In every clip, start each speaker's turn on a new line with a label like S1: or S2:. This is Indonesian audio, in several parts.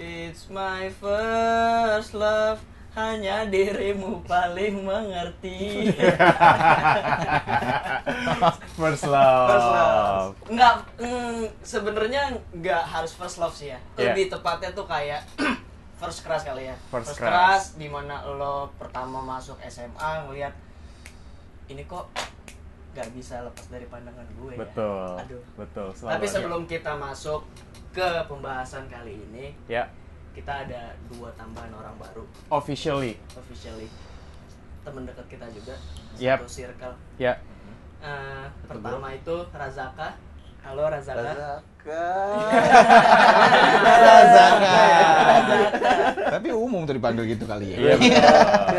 S1: It's my first love hanya dirimu paling mengerti.
S2: first love.
S1: first
S2: Oh.
S1: love. Nggak, mm, sebenarnya nggak harus first love sih ya.
S2: Iya.
S1: Lebih tepatnya tuh kayak first crush kali ya.
S2: First crush.
S1: crush di mana lo pertama masuk SMA ngelihat ini kok nggak bisa lepas dari pandangan gue ya.
S2: Betul.
S1: Aduh.
S2: Betul. selalu
S1: Tapi
S2: ada.
S1: sebelum kita masuk ke pembahasan kali ini,
S2: ya
S1: kita ada dua tambahan orang baru
S2: officially
S1: officially teman dekat kita juga
S2: Yap.
S1: satu circle.
S2: ya
S1: Eh, pertama itu Razaka. Halo Razaka.
S3: Razaka.
S2: Razaka.
S3: Tapi umum tuh dipanggil gitu kali ya.
S2: Iya, betul.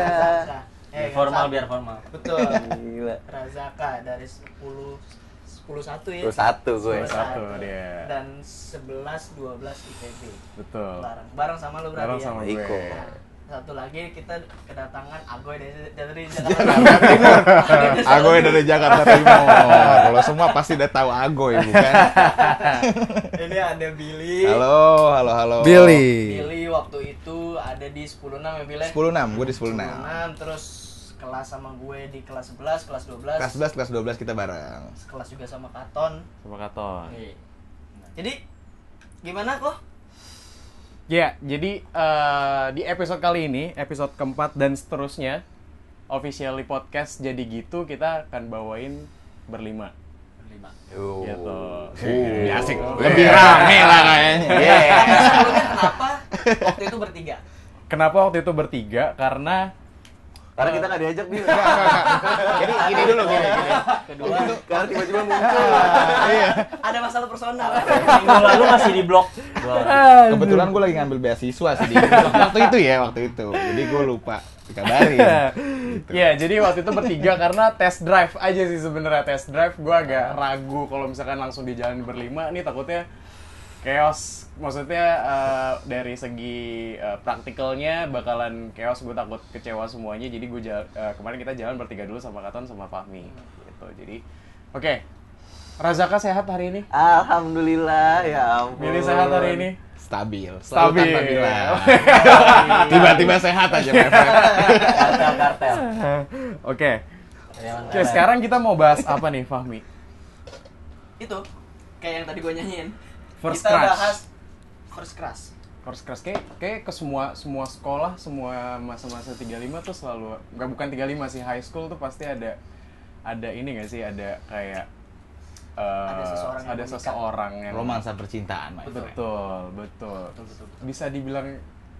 S3: Razaka.
S1: Eh,
S4: formal
S1: Razaka.
S4: biar formal.
S1: Betul.
S3: Gila.
S1: Razaka dari 10 11 ya.
S3: Terus satu gue.
S1: 11.
S2: dia.
S1: Dan 11 12 IPB.
S2: betul
S1: Bareng bareng sama lu berarti
S2: Oh. bareng
S1: ya?
S2: sama
S3: Iko.
S2: gue
S1: Nah, satu lagi kita kedatangan Agoy dari dari Jakarta.
S3: Agoy dari Jakarta Timur. Kalau semua pasti udah tahu Agoy, bukan?
S1: Ini ada Billy.
S3: Halo, halo, halo.
S5: Billy.
S1: Billy waktu itu ada di 106 ya Billy.
S3: 106, gue di 106.
S1: 106 terus kelas sama gue di kelas 11, kelas 12.
S3: Kelas 11, kelas 12 kita bareng.
S1: Sekelas juga sama Katon.
S2: sama Katon
S1: Iya. Jadi gimana kok?
S2: ya jadi eh, di episode kali ini episode keempat dan seterusnya officially podcast jadi gitu kita akan bawain berlima
S4: Berlima.
S3: Oh.
S2: gitu
S3: Lebih asik. Lebih rame lah kayaknya.
S1: Tapi Kan sebelumnya kenapa waktu itu bertiga?
S2: kenapa waktu itu bertiga karena
S3: Karena kita nggak diajak nih. Jadi gini dulu gini. gini.
S4: Kedua,
S3: Karena tiba-tiba muncul.
S1: Ada masalah personal.
S4: minggu lalu masih di blok. Dua.
S3: Kebetulan gue lagi ngambil beasiswa sih di waktu itu ya, waktu itu. Jadi gue lupa dikabarin. Gitu.
S2: Ya, jadi waktu itu bertiga karena test drive aja sih sebenarnya test drive. Gua
S4: Ah.
S2: agak ragu kalau misalkan langsung di jalan berlima, nih takutnya chaos. Maksudnya eh, dari segi eh, praktikalnya bakalan chaos. Gue takut kecewa semuanya. Jadi gue kemarin kita jalan bertiga dulu sama Katon sama Fahmi. Gitu. Jadi, oke. Razaka sehat hari ini?
S4: Alhamdulillah ya ampun.
S2: Milih sehat hari ini?
S3: Stabil. Selalu
S2: Stabil.
S3: tanpa bilang. Tiba-tiba sehat aja, my friend.
S4: Kartel kartel.
S2: Oke. Oke, sekarang kita mau bahas apa nih, Fahmi?
S1: itu kayak yang tadi gue nyanyiin.
S2: First
S1: Kita
S2: crush.
S1: bahas first crush.
S2: First crush kayak, kayak ke semua semua sekolah, semua masa-masa 35 tuh selalu nggak bukan 35 sih high school tuh pasti ada ada ini nggak sih ada kayak eh,
S1: Ada seseorang yang
S2: ada
S1: menikah.
S2: seseorang yang
S3: Romansa percintaan, my friend.
S2: betul, betul bisa dibilang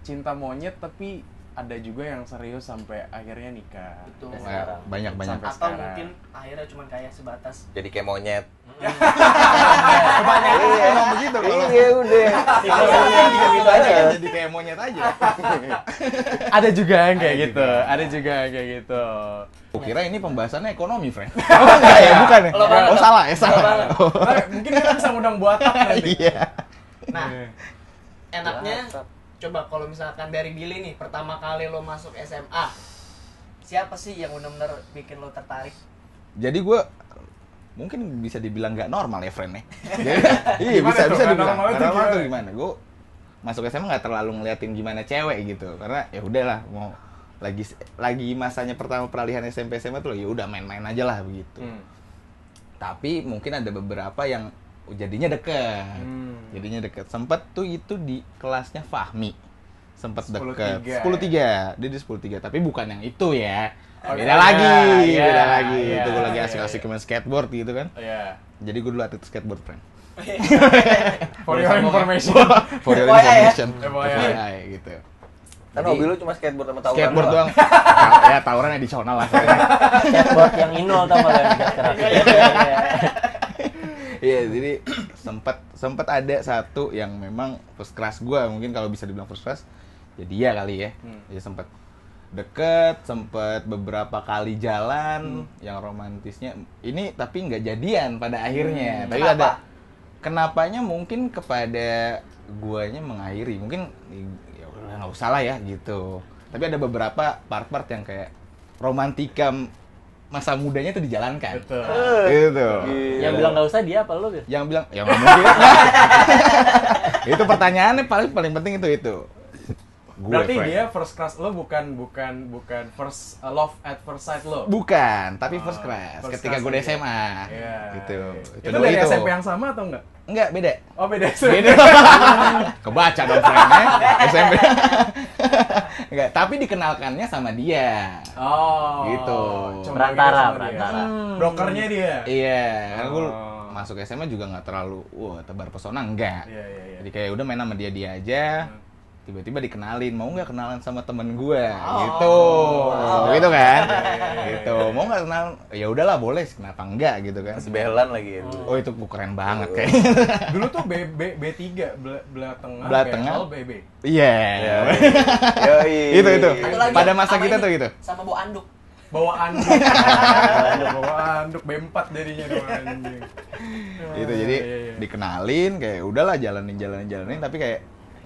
S2: cinta monyet tapi ada juga yang serius sampai akhirnya nikah
S1: Betul.
S3: Wah, Banyak-banyak.
S2: Sampai
S1: Atau
S2: sekarang.
S1: mungkin akhirnya cuma kayak sebatas
S3: Jadi kayak monyet.
S1: kebanyakan
S3: Emang begitu kalau. Iya, udah. Gitu aja kan, jadi kayak monyet aja.
S2: ada juga yang kayak
S3: Ada
S2: gitu
S3: juga.
S2: ada juga yang kayak gitu
S3: Kukira ini pembahasannya ekonomi, friend. Oh, enggak ya, bukan ya.
S1: Lo banget.
S3: Oh, salah ya, salah.
S2: Nah, mungkin kita bisa ngundang buatan nanti
S3: Iya.
S1: Nah, enaknya coba kalau misalkan dari Billy nih, pertama kali lo masuk SMA, siapa sih yang benar-benar bikin lo tertarik?
S3: Jadi gue mungkin bisa dibilang nggak normal ya friend ya. Jadi iya
S2: Gimana
S3: bisa
S2: tuh?
S3: bisa
S2: Nggak
S3: dibilang
S2: normal
S3: normal,
S2: itu
S3: normal tuh
S2: gimana?
S3: gimana? Gue masuk SMA nggak terlalu ngeliatin gimana cewek gitu karena ya udahlah mau lagi lagi masanya pertama peralihan SMP SMA tuh ya udah main-main aja lah begitu.
S2: Hmm.
S3: Tapi mungkin ada beberapa yang jadinya deket.
S2: Hmm.
S3: Jadinya deket. Sempet tuh itu di kelasnya Fahmi. Sempet
S2: 10-3 ya?
S3: deket. 10-3. Dia di 10-3. Tapi bukan yang itu ya.
S2: Oh, iya,
S3: beda lagi.
S2: iya,
S3: beda lagi.
S2: iya,
S3: itu gue lagi
S2: iya,
S3: asik-asik
S2: iya.
S3: main skateboard gitu kan.
S2: Iya.
S3: Jadi gue dulu atlet skateboard, friend.
S2: For your
S3: ya?
S2: information.
S3: For your
S1: FYI ya?
S3: information.
S2: FYI.
S3: FYI, gitu.
S6: Kan
S3: Jadi,
S6: hobi lu cuma skateboard sama tawuran
S3: skateboard
S6: doang.
S3: doang. Nah, ya tawuran additional lah.
S4: Skateboard yang inul tau nggak lo yang gerak-gerak.
S1: iya,
S3: Iya, jadi sempat sempat ada satu yang memang first crush gue mungkin kalau bisa dibilang first crush ya dia kali ya. Ya sempat deket, sempat beberapa kali jalan yang romantisnya ini tapi nggak jadian pada akhirnya. Tapi
S1: Kenapa?
S3: ada kenapanya mungkin kepada guanya mengakhiri mungkin ya udah nggak usah lah ya gitu. Tapi ada beberapa part-part yang kayak romantika masa mudanya itu dijalankan.
S2: Betul.
S3: Gitu.
S6: Iya.
S3: Iya.
S4: Yang bilang nggak usah dia apa lo? Bil?
S3: yang bilang ya nggak mungkin itu pertanyaannya paling paling penting itu itu. Gue,
S2: Berarti
S3: Frank.
S2: dia first crush lo bukan bukan bukan first uh, love at first sight lo.
S3: bukan, tapi first
S2: Oh,
S3: class
S2: first
S3: ketika
S2: class
S3: gue
S2: dulu.
S3: SMA.
S2: Iya.
S3: Gitu.
S2: Itu,
S3: dulu
S2: dari
S3: itu.
S2: SMP yang sama atau enggak?
S3: Enggak, beda.
S2: Oh beda SMP.
S3: Beda. Kebaca dong friend-nya. SMP. Enggak, tapi dikenalkannya sama dia.
S2: Oh.
S3: Gitu.
S2: Cuma
S4: Perantara,
S2: gitu sama dia.
S4: perantara.
S2: Hmm. Brokernya dia.
S3: Iya, karena gue
S2: Oh.
S3: masuk SMA juga nggak terlalu wah tebar pesona enggak.
S2: Iya iya iya. Hmm.
S3: Jadi ah, kayak udah main sama dia dia aja. Tiba-tiba dikenalin, mau nggak kenalan sama temen gue?
S2: Oh.
S3: gitu. Gitu kan?
S2: iya,
S3: gitu. Mau nggak kenal? Ya udahlah boleh, kenapa enggak gitu kan?
S6: Sebelan lagi ya.
S3: Oh itu keren banget kayaknya.
S2: Dulu tuh B B B3 bela, belah tengah.
S3: Belah
S2: BL,
S3: tengah.
S2: BB.
S3: Iya.
S6: Ya. Yoi.
S3: Itu itu.
S1: Satu lagi,
S3: Pada masa
S1: sama
S3: kita
S1: ini,
S3: tuh gitu.
S1: Sama Bu Anduk.
S2: Bawaan. Bawaan bawaan B4 jadinya dong anjing.
S3: Gitu jadi
S2: Iya, iya, iya.
S3: dikenalin kayak udahlah jalanin jalanin jalanin tapi kayak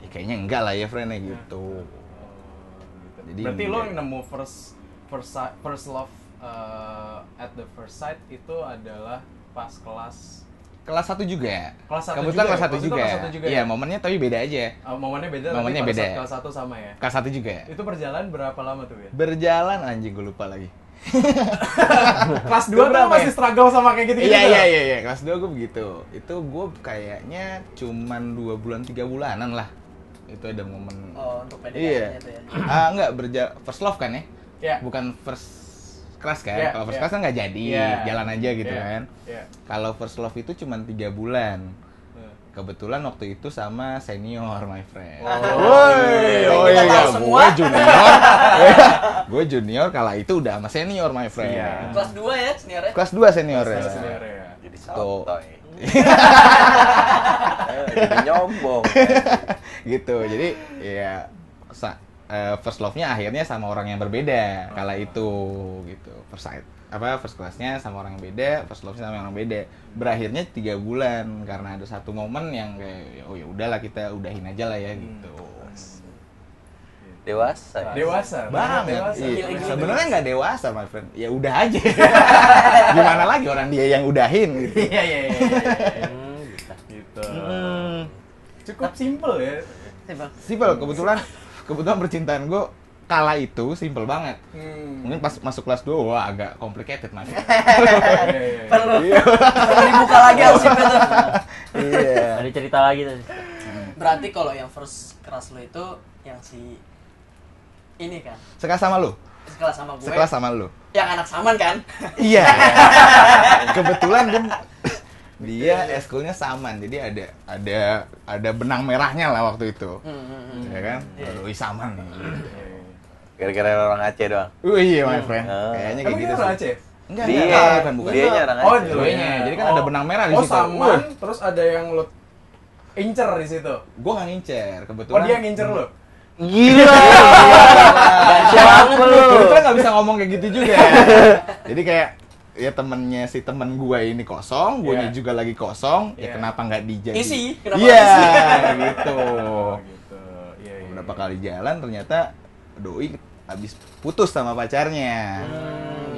S3: "Ya, kayaknya enggak lah ya friendnya
S2: Iya.
S3: gitu. Jadi
S2: Berarti lo
S3: enggak.
S2: yang nemu first first si- first love uh, at the first sight itu adalah pas kelas
S3: Kelas satu juga.
S2: Kelas satu
S3: Kebetulan
S2: juga ya?
S3: kelas satu
S2: Waktu itu
S3: juga.
S2: kelas satu juga
S3: Iya,
S2: ya?
S3: momennya tapi beda aja.
S2: uh, momennya beda
S3: Momennya
S2: tapi pada
S3: beda. Iya.
S2: saat kelas satu sama ya.
S3: Kelas satu juga.
S2: Itu perjalanan berapa lama tuh ya?
S3: Berjalan anjing gue lupa lagi.
S2: Kelas 2 tuh
S3: berapa
S2: masih
S3: ya?
S2: struggle sama kayak gitu-gitu.
S3: Iya
S2: tuh.
S3: iya iya iya, kelas 2 gue begitu. Itu gue kayaknya cuman 2 bulan 3 bulanan lah. Itu ada momen
S1: Oh, untuk PDKT-nya
S3: Iya.
S1: tuh ya.
S3: Ah enggak berja first love kan ya?
S2: Iya.
S3: Bukan first crush kan?
S2: Iya,
S3: Kalau first
S2: iya.
S3: crush kan nggak jadi,
S2: Iya.
S3: jalan aja gitu
S2: Iya,
S3: kan.
S2: Iya.
S3: Kalau first love itu cuma 3 bulan. Kebetulan waktu itu sama senior my friend. Woi,
S1: Kita tahu
S3: oh iya,
S1: semua.
S3: gue junior. gue junior kala itu udah sama senior my friend.
S2: Iya.
S1: Kelas 2 ya seniornya.
S3: Kelas 2 senior ya.
S2: Terus dia area.
S6: Jadi
S3: Tuh.
S6: sotoy. Eh, Jadi nyombong.
S3: gitu jadi ya sa- eh, first love-nya akhirnya sama orang yang berbeda kala itu gitu first sight- apa first class-nya sama orang yang beda first love-nya sama orang beda berakhirnya tiga bulan karena ada satu momen yang kayak oh ya udahlah kita udahin aja lah ya
S2: Hmm.
S3: gitu
S6: Dewasa. ya?
S2: Nah, Dewasa. kan
S3: banget
S2: Dewasa.
S3: iya.
S1: Gila, gila.
S3: sebenarnya nggak dewasa my friend ya udah aja gimana lagi orang dia yang udahin gitu
S2: Iya iya iya, iya. iya.
S4: Hmm, gitu.
S2: Gitu.
S3: Hmm.
S2: Cukup simple ya.
S1: Iya,
S3: simple kebetulan kebetulan percintaan gue kala itu simple banget
S2: Hmm.
S3: Mungkin pas masuk kelas 2 wah agak complicated mas.
S2: Iya, iya, iya.
S1: Perlu. Perlu dibuka lagi arsipnya tuh.
S3: iya.
S4: Ada cerita lagi tadi.
S1: Berarti kalau yang first kelas lo itu yang si ini kan.
S3: Sekelas sama lu?
S1: Sekelas sama gue.
S3: Sekelas sama lu?
S1: Yang anak saman kan?
S3: Iya. Kebetulan dia dia eskulnya saman, jadi ada ada ada benang merahnya lah waktu itu.
S1: Hmm, hmm, hmm.
S3: Ya kan? Lalu ih, saman. nih.
S2: Iya,
S6: Gara-gara orang Aceh doang.
S3: Oh iya my friend.
S6: Hmm.
S3: Kayaknya kayak
S2: Emang
S3: gitu.
S2: dia
S3: sih.
S2: orang Aceh?
S3: Enggak,
S6: Dia,
S3: enggak, enggak, bukan bukan.
S6: dianya orang
S2: Oh,
S6: Aceh.
S2: dulu
S3: Duanya. Jadi kan ada benang merah di
S2: oh,
S3: situ.
S2: Oh, sama.
S3: Wah.
S2: Terus ada yang lo incer di situ.
S3: Gua enggak ngincer, kebetulan.
S2: Oh, dia yang ngincer lo.
S3: Hmm. Gila.
S4: Siapa lu?
S3: Kebetulan nggak bisa ngomong kayak gitu juga. Jadi kayak ya temennya si temen gua ini kosong, gue
S2: Iya.
S3: juga lagi kosong,
S2: Iya.
S3: ya kenapa nggak dijadi?
S1: Isi, kenapa
S3: Iya,
S1: isi?
S3: gitu.
S2: Oh, gitu. Iya, iya.
S3: Beberapa kali jalan ternyata doi habis putus sama pacarnya.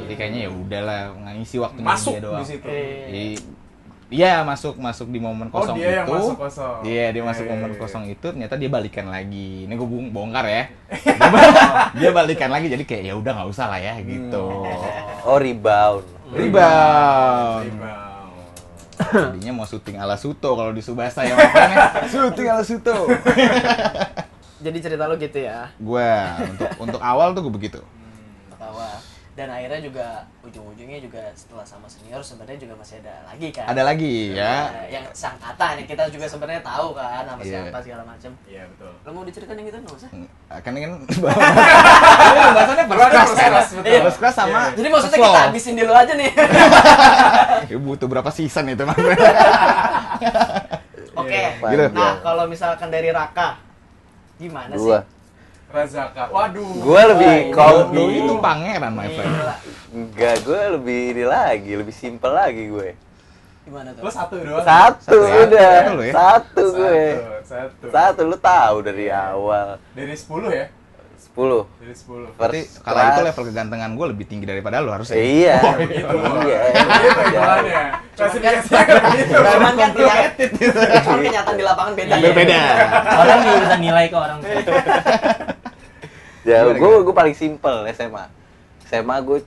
S3: Jadi kayaknya ya udahlah ngisi waktu
S2: masuk
S3: dia
S2: di
S3: doang.
S1: Gitu.
S3: Iya.
S2: situ.
S3: Jadi, Iya masuk masuk di momen
S2: Oh,
S3: kosong
S2: dia yang
S3: itu.
S2: masuk kosong.
S3: Iya dia
S2: Iya,
S3: masuk
S2: iya,
S3: momen
S2: iya.
S3: kosong itu ternyata dia balikan lagi. Ini gue bongkar ya. dia balikan lagi jadi kayak ya udah nggak usah lah ya gitu.
S6: Oh, rebound.
S3: Rebound.
S2: Rebound.
S3: Jadinya mau syuting ala Suto kalau di Subasa ya makanya. syuting ala Suto.
S5: Jadi cerita lo gitu ya.
S3: gue untuk untuk awal tuh gue begitu.
S1: Ketawa. Dan akhirnya juga ujung-ujungnya juga setelah sama senior sebenarnya juga masih ada lagi kan.
S3: Ada lagi ya.
S1: Eh, yang sangkatan yang kita juga sebenarnya tahu kan sama
S3: Iya.
S1: siapa segala macam.
S2: Iya, betul.
S1: Lo mau diceritain yang itu nggak usah.
S3: Kan kan Iya, bahasannya first class kan?
S1: Iya.
S3: First class sama
S1: Jadi maksudnya
S3: first
S1: kita
S3: love.
S1: habisin dulu aja nih.
S3: Iya. Ya, butuh berapa season itu mas?
S1: Oke.
S3: Gitu.
S1: Nah, kalau misalkan dari Raka gimana
S6: Gua.
S1: sih?
S2: Razaka. Waduh.
S6: Gua lebih
S1: Oh,
S3: Kalau
S6: kombi.
S3: doi itu pangeran my friend.
S1: Gila.
S6: Enggak, gue lebih ini lagi, lebih simpel lagi gue.
S1: Gimana tuh?
S2: Lo satu doang.
S6: Satu,
S3: Satu ya?
S6: udah,
S3: Satu lu ya?
S6: satu gue.
S2: Satu.
S6: Satu, lu tahu dari awal.
S2: Dari 10 ya?
S6: 10.
S2: Jadi 10.
S3: Berarti
S6: First
S3: kalau itu
S6: class.
S3: level kegantengan gue lebih tinggi daripada lo harusnya.
S6: Iya. Iya.
S2: Jalannya.
S3: Iya.
S2: Klasifikasinya kan begitu.
S1: Cuman kan tidak Cuman kenyataan di lapangan beda. ya.
S4: Iya.
S3: Berbeda.
S4: Orang juga bisa nilai kok orang.
S3: Iya,
S6: Jauh.
S3: Gimana,
S6: Gue gue paling simple SMA. SMA gue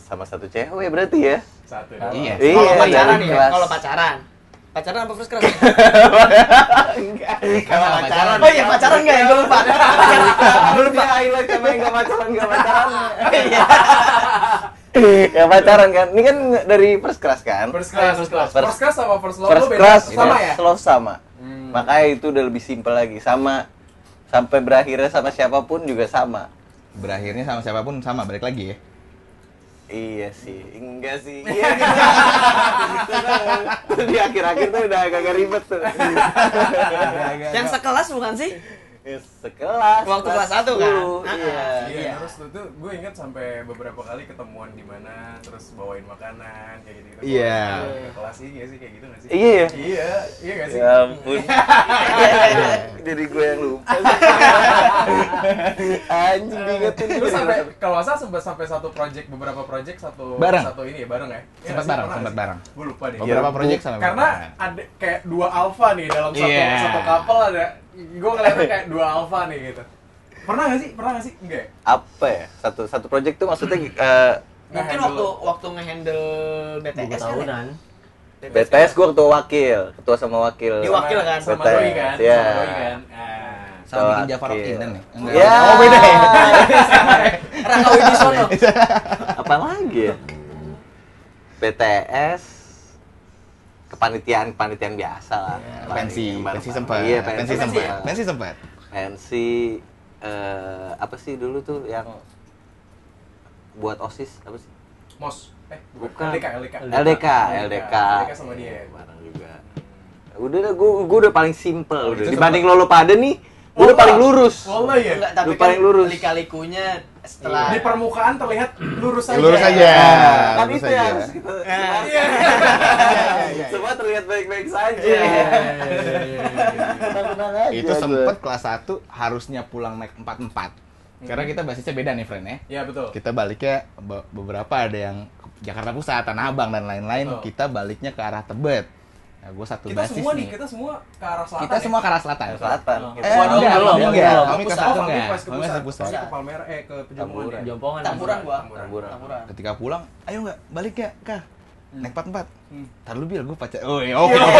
S6: sama satu cewek berarti ya.
S2: Satu.
S3: Iya.
S1: Kalau pacaran
S6: dari
S1: ya,
S6: kelas.
S1: kalau pacaran. Pacaran apa first crush?
S3: Kalau pacaran.
S1: Oh iya pacaran enggak ya? Gue lupa.
S6: Lu lupa highlight sama yang gak pacaran, gak pacaran.
S4: Iya,
S6: Iya. Gak pacaran kan? Ini kan dari first class kan?
S2: First class, first class. First class sama first love
S6: First
S2: lo beda
S6: class iya.
S2: sama ya?
S6: first love sama.
S2: Hmm.
S6: Makanya itu udah lebih simple lagi. Sama sampai berakhirnya sama siapapun juga sama.
S3: Berakhirnya sama siapapun sama balik lagi ya.
S6: Iya sih, enggak sih. Iya gitu. Gitu dong. Di akhir-akhir tuh udah agak ribet tuh.
S1: Yang sekelas bukan sih?
S6: Ya, Sekelas.
S1: Waktu kelas satu kan?
S6: 10,
S1: Ah,
S6: Iya.
S2: Iya, terus lu tuh gue ingat sampai beberapa kali ketemuan di mana, terus bawain makanan kayak gitu.
S3: Iya.
S2: Kelas sih nggak sih kayak gitu nggak sih?
S6: Iya ya.
S2: Iya, iya nggak sih?
S6: Ya ampun. Jadi gue yang lupa. Anjing diingetin
S2: Lu sampai kalau nggak salah sempat sampai satu project beberapa project satu
S3: Bareng.
S2: satu ini ya bareng ya?
S3: Sempat bareng, sempat bareng.
S2: Gue lupa deh.
S3: Beberapa project sama
S2: Iya, Karena
S3: beberapa.
S2: ada kayak dua alpha nih dalam satu
S3: Iya.
S2: satu couple ada gue ngeliatnya kayak dua alpha nih gitu. Pernah nggak sih? Pernah nggak sih? Enggak. ya?
S6: apa ya? Satu satu project tuh maksudnya eh,
S1: Mungkin
S2: Ngehandle.
S1: waktu waktu ngehandle
S4: Buku
S1: BTS kan. ya?
S4: tahunan.
S6: BTS gue ketua wakil, ketua sama wakil.
S1: Di wakil kan?
S2: sama
S6: BTS,
S2: Doi kan?
S6: iya.
S2: Sama Doi kan? Ah.
S3: Sama bikin Jafar of Eden ya? Enggak.
S6: Ya.
S3: Oh, beda ya?
S1: Raka Widisono.
S6: apa lagi ya? BTS kepanitiaan kepanitiaan biasa lah. Paling
S3: Iya, Pensi,
S6: yang
S3: pensi
S6: bareng-bareng.
S3: sempat.
S6: Iya,
S3: pensi sempat. Pensi sempat.
S6: Pensi eh, apa sih dulu tuh yang
S3: Oh.
S6: buat OSIS apa sih?
S2: Mos. Eh, bukan.
S6: Bukan.
S2: LDK, LDK.
S6: LDK, LDK.
S2: LDK sama dia.
S6: Barang Iya, juga. Udah dah, gua, gua udah paling simple udah.
S3: itu
S6: Dibanding lo lo pada nih, gua
S2: Wah,
S6: udah paling lurus.
S2: Wallah ya.
S1: Enggak, tapi
S6: Iya. Lu paling
S1: kan
S6: lurus.
S1: lika-likunya setelah
S2: Di permukaan terlihat lurus aja.
S3: Lurus aja.
S6: Kan
S3: lurus
S6: itu yang
S3: aja.
S6: harus kita iya,
S2: Iya.
S6: semua terlihat baik-baik saja. iya.
S3: Itu sempat kelas 1 harusnya pulang naik 44.
S2: Hmm.
S3: Karena kita basisnya beda nih, friend ya.
S2: Iya, betul.
S3: Kita baliknya be- beberapa ada yang ke Jakarta Pusat, Tanah Abang dan lain-lain.
S2: Betul.
S3: Kita baliknya ke arah Tebet. Nah, gue satu
S2: Kita
S3: basis
S2: semua nih,
S3: nih.
S2: kita semua ke arah selatan.
S3: Kita
S2: ya?
S3: semua ke arah selatan.
S6: Selatan.
S3: Eh,
S4: Semua dong,
S3: enggak,
S4: belum,
S3: enggak.
S4: belum.
S3: Kami ke satu
S2: Oh, kami
S3: enggak.
S2: pas ke
S3: Kami ke
S2: pusat.
S3: ya? pusat.
S2: Kami ke Palmera, eh ke Pejamuan ya.
S4: Jompongan.
S1: Tamburan gua.
S6: Tamburan.
S1: Tamburan.
S3: Ketika pulang, ayo nggak balik ya, Kak? Naik 44.
S2: Hmm.
S3: Ntar lu bilang gue pacar. Oh, iya, oke. Oke,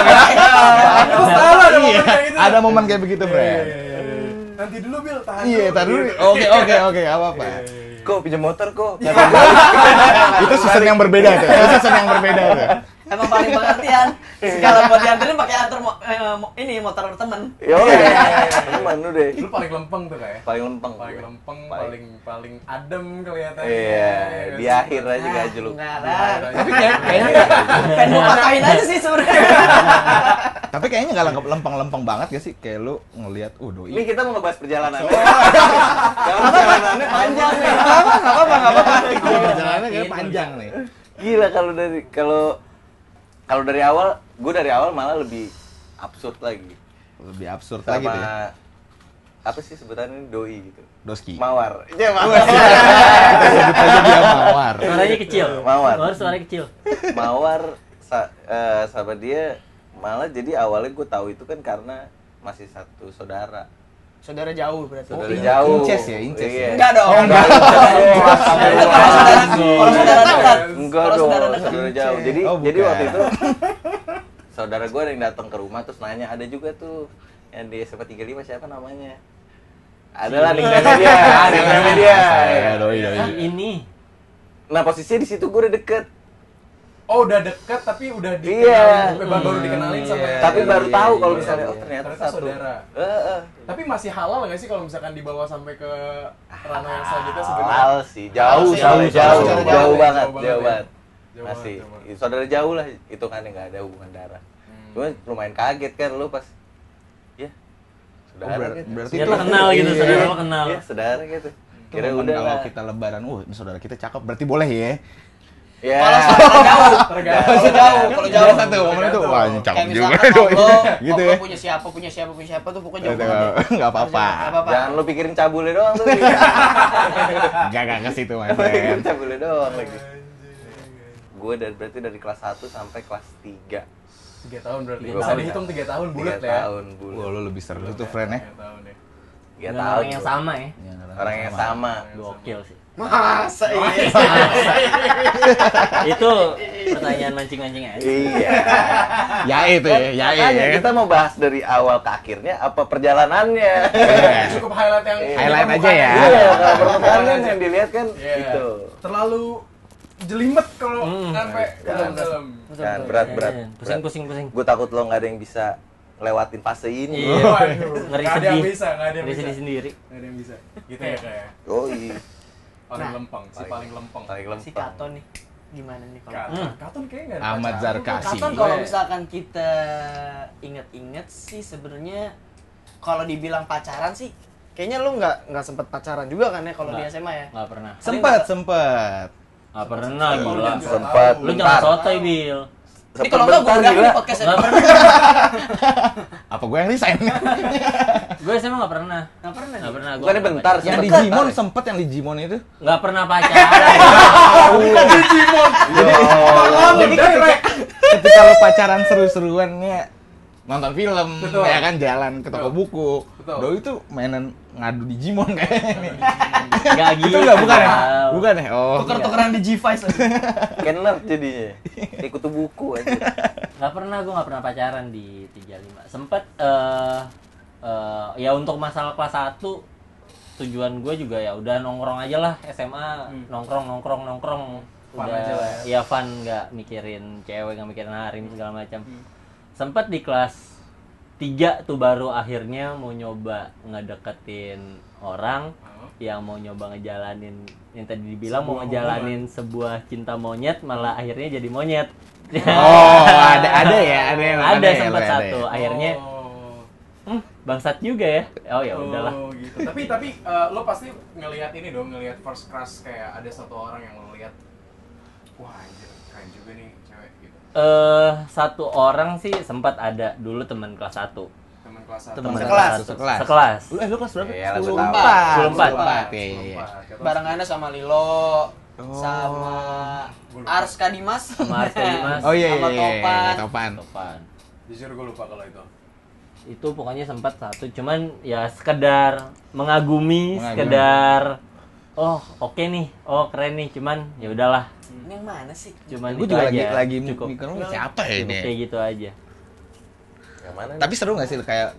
S3: oke.
S2: Lu salah ada momen kayak gitu.
S3: Iya. Ada momen kayak begitu,
S2: Iya, iya,
S3: friend.
S2: iya, iya. Nanti dulu, Bil. Tahan
S3: Iya, tar dulu.
S2: Iya.
S3: Oke, oke, oke, gak apa-apa.
S6: Kok pinjam motor kok?
S3: Itu season yang berbeda tuh. Itu season yang berbeda tuh.
S1: Emang paling pengertian. Segala buat dianterin pakai antar mo- eh, mo- ini motor temen.
S6: Yo, cuman lu deh.
S2: iya. Lu paling lempeng tuh ya? kayak.
S6: Iya, Paling lempeng.
S2: Paling
S6: gue.
S2: lempeng,
S6: Paling-
S2: paling paling adem kelihatannya.
S6: Iya, di
S2: kan?
S6: akhir aja gak jeluk.
S1: Ah, Enggak lah.
S2: Tapi
S4: Kayaknya nggak.
S1: Pengen gua patahin aja sih sebenarnya.
S3: Tapi kayaknya nggak lengkap lempeng-lempeng banget ya sih kayak lu ngelihat uh doi.
S6: Ini kita mau ngebahas perjalanan. Karena perjalanannya panjang nih.
S3: Iya, perjalanannya kayak panjang nih.
S6: Gila kalau dari kalau kalau dari awal, gue dari awal malah lebih absurd lagi.
S3: Lebih absurd
S6: Sama
S3: lagi tuh ya.
S6: apa sih sebutannya doi gitu.
S3: Doski.
S6: Mawar. Iya, mawar.
S3: Kita sebut aja dia mawar.
S4: Suaranya kecil.
S6: Mawar.
S4: Mawar suaranya kecil.
S6: mawar sa- eh, sama dia malah jadi awalnya gue tahu itu kan karena masih satu saudara
S1: Saudara jauh berarti.
S6: saudara
S3: iya,
S6: jauh
S3: incest ya, incest ya?
S6: Iya.
S1: Enggak dong.
S6: Enggak, enggak.
S1: Itu kalau saudara, kalau saudara dekat.
S6: enggak
S1: Kalau
S6: dong
S1: saudara
S6: saudara,
S1: dekat.
S6: jauh jadi
S3: Oh,
S6: jadi
S3: bukan.
S6: waktu itu saudara gue ada yang datang ke rumah terus nanya ada juga tuh yang di SMA 35 siapa namanya adalah nickname dia nickname dia
S3: Saya doi doi.
S4: Ah, Ini.
S6: nah posisinya di situ gue udah deket
S2: Oh udah deket tapi udah dikenalin,
S6: Iya.
S2: baru baru dikenalin sama
S6: Iya,
S2: yang-
S6: tapi baru
S2: Iya,
S6: tahu
S2: iya,
S6: kalau
S2: iya,
S6: misalnya
S2: iya.
S6: oh ternyata,
S2: Ternyata
S6: satu
S2: saudara.
S6: Eh, eh.
S2: Tapi masih halal nggak sih kalau misalkan dibawa sampai ke ranah yang selanjutnya sebenarnya?
S6: Ah, Halal sih, jauh,
S1: Halal sih,
S6: jauh,
S1: halal
S6: jauh,
S1: sih,
S6: jauh,
S1: jauh,
S6: jauh
S2: jauh
S6: banget,
S2: banget,
S6: jauh
S2: ya.
S6: banget.
S2: Jauh
S6: Masih,
S2: banget, Hmm. jauh
S6: saudara jauh lah, itu kan yang nggak ada hubungan darah. Cuma lumayan kaget kan lu pas, ya,
S3: Oh,
S6: saudara
S3: ber-
S6: gitu.
S3: Berarti
S4: Dia kenal gitu,
S3: Iya.
S4: saudara lo kenal.
S6: Ya, saudara gitu.
S3: Itu
S6: Kira
S3: momen
S6: udah
S3: kalau
S6: lah. Oh,
S3: kita lebaran, uh ini saudara kita cakep berarti boleh ya.
S6: Ya.
S1: Kalau sekolah jauh,
S2: Ah, Tergantung.
S1: kalau jauh, kalau jauh
S3: Biasa tuh, momen itu wah ini
S1: Kayak
S3: cakep juga
S1: misalkan
S3: doi.
S1: lo,
S3: Gitu
S1: gitu
S3: ya.
S1: punya siapa, punya siapa, punya siapa tuh pokoknya jauh
S3: Gitu,
S1: banget. ya.
S3: nggak apa-apa.
S1: Nggak apa-apa.
S6: Jangan lu pikirin cabulnya doang tuh.
S3: Enggak enggak ke situ my
S6: pikirin
S3: friend.
S6: cabulnya doang lagi. Gue dari berarti dari kelas 1 sampai kelas 3.
S2: Tiga tahun berarti.
S6: Tiga
S2: Bisa
S6: tahun.
S2: dihitung tiga tahun bulat
S6: 3
S2: ya.
S6: tahun
S3: Wah,
S6: bulat.
S3: lu lebih seru tuh friend ya.
S2: Tiga tahun ya.
S6: 3
S5: Dengan
S6: tahun.
S5: orang yang
S6: cuy.
S5: sama ya.
S6: Orang yang sama.
S4: Gokil sih.
S1: Masa iya? ini?
S4: Itu pertanyaan mancing-mancing aja.
S6: Iya.
S3: Ya itu ya, ya
S6: Makanya
S3: ya.
S6: kita mau bahas dari awal ke akhirnya apa perjalanannya.
S2: Cukup highlight yang
S3: Iya. Highlight aja ya.
S6: Iya, kalau permukaan kan yang dilihat kan
S2: Iya.
S6: itu.
S2: Terlalu jelimet kalau sampai ke
S6: Jangan.
S2: dalam.
S6: Kan berat berat.
S4: Eh, Pusing, pusing, pusing.
S6: Gue takut lo nggak ada yang bisa lewatin fase ini.
S4: Iya.
S2: Waduh,
S4: Ngeri
S2: nggak ada yang
S4: sedih.
S2: bisa, nggak ada yang
S4: Dari
S2: bisa.
S4: sini sendiri.
S2: Nggak ada yang bisa. Gitu ya kayak
S6: Oh iya.
S2: paling
S1: Nah.
S2: lempeng, si
S6: Paling-
S2: paling lempeng.
S6: Paling
S1: Si
S6: lempeng.
S1: Katon nih, gimana nih kalau?
S2: Katon, Katon kayaknya nggak ada Iya.
S3: Ahmad
S2: pacaran.
S3: Zarkasi.
S1: Katon kalau misalkan kita inget-inget sih sebenarnya kalau dibilang pacaran sih
S5: Kayaknya lu nggak nggak sempet pacaran juga kan ya kalau di
S4: Nggak.
S5: SMA ya?
S4: Nggak pernah.
S3: Sempet, sempet.
S4: Nggak pernah, gila.
S2: Nggak
S6: Sempat.
S2: tahu.
S4: Lu
S6: Bentar.
S4: jangan sotoy, Bil.
S1: ini kalau enggak gue
S6: Sebentar,
S1: undang
S6: gila. Iya.
S1: di podcast
S4: Nggak
S1: ini.
S4: pernah.
S3: Apa gue yang resign?
S4: Gue SMA nggak pernah.
S1: Nggak pernah.
S4: Nggak pernah.
S6: Bukannya bentar,
S3: yang di
S6: sempet.
S3: Jimon sempet yang di Jimon itu.
S4: Nggak pernah pacaran.
S2: Iya.
S3: Jadi ketika, ketika lo pacaran seru-seruannya nonton film,
S2: Betul.
S3: ya kan jalan ke toko
S2: Betul.
S3: buku.
S2: Betul.
S3: Doi itu mainan ngadu di Jimon kayaknya nih.
S4: Nggak gitu.
S3: Itu enggak bukan ya? Bukan ya? Oh.
S1: Tuker-tukeran di G-Vice.
S6: Kenner jadinya. Kayak kutu buku aja.
S4: Gak pernah, gue gak pernah pacaran di 35 Sempet, eh eh, ya untuk masalah kelas 1 Tujuan gue juga ya udah nongkrong aja lah SMA Nongkrong, nongkrong, nongkrong
S2: Hmm. Fun
S4: udah,
S2: aja lah
S4: ya fun gak mikirin cewek, gak mikirin harim segala macam
S2: Hmm.
S4: Sempet di kelas 3 tuh baru akhirnya mau nyoba ngedeketin orang
S2: Oh.
S4: yang mau nyoba ngejalanin yang tadi dibilang mau
S2: Sebuah
S4: ngejalanin sebuah cinta monyet malah akhirnya jadi monyet
S3: Oh, ada ada ya, ada yang
S4: ada
S3: ya,
S4: sempat
S3: ada ya.
S4: satu akhirnya
S2: Oh.
S4: hmm, bangsat juga ya oh ya udahlah
S2: Oh, gitu. Tapi tapi eh, lo pasti ngelihat ini dong, ngelihat first crush kayak ada satu orang yang lo lihat wah anjir keren juga nih cewek gitu.
S4: eh satu orang sih sempat ada dulu teman kelas satu
S2: Teman kelas satu.
S4: teman
S3: Sekelas,
S4: kelas satu.
S3: sekelas.
S4: sekelas
S3: Lu eh lu kelas berapa?
S6: Iya, lah,
S3: 10
S6: gua tahu.
S3: 4. Iya,
S4: 14.
S3: iya, iya.
S1: Barengannya sama Lilo,
S3: Oh.
S1: sama Ars Kadimas,
S4: Sama Ars Kadimas.
S3: Oh iya iya
S1: sama
S3: iya.
S1: Topan.
S3: Topan.
S4: Topan.
S2: Jujur gue lupa kalau itu.
S4: itu pokoknya sempat satu cuman ya sekedar mengagumi,
S3: Mengagumi.
S4: sekedar oh oke nih oh keren nih cuman ya udahlah
S1: Ini yang mana sih?
S4: cuman
S3: Gue
S4: itu
S3: juga
S4: aja
S3: lagi lagi
S4: cukup
S3: mikir lu siapa ya
S4: cukup
S3: ini.
S4: kayak gitu aja
S6: Yang mana? nih?
S3: Tapi seru gak sih kayak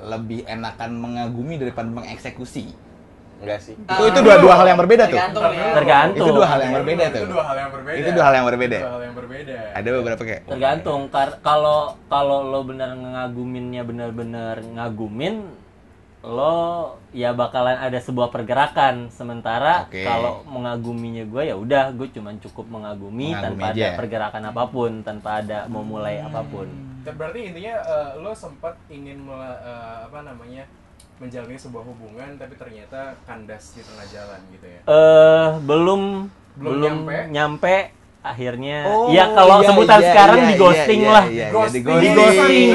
S3: lebih enakan mengagumi daripada mengeksekusi?
S6: Enggak sih.
S3: Itu itu dua dua hal yang berbeda tuh.
S1: Tergantung nih ya.
S4: tergantung
S3: Iya. Itu dua hal yang berbeda
S2: itu
S3: tuh.
S2: dua hal yang berbeda.
S3: Itu dua hal yang berbeda.
S2: Dua hal yang berbeda.
S3: Ada beberapa kayak
S4: tergantung kar- kalau kalau lo bener ngaguminnya bener-bener ngagumin lo ya bakalan ada sebuah pergerakan sementara
S3: Oke.
S4: kalau mengaguminya gue ya udah gue cuman cukup mengagumi,
S3: Mengagumi
S4: tanpa ada
S3: aja.
S4: pergerakan apapun tanpa ada mau mulai apapun
S2: Dan berarti intinya eh, lo sempat ingin mela- eh, apa namanya menjalani sebuah hubungan tapi ternyata kandas di tengah jalan gitu ya.
S4: eh belum
S2: Belum
S4: belum,
S2: nyampe.
S4: nyampe. akhirnya
S3: Oh,
S4: ya kalau sebutan sekarang di ghosting lah
S3: Iya, iya, di
S2: Ghosting.
S3: ghosting.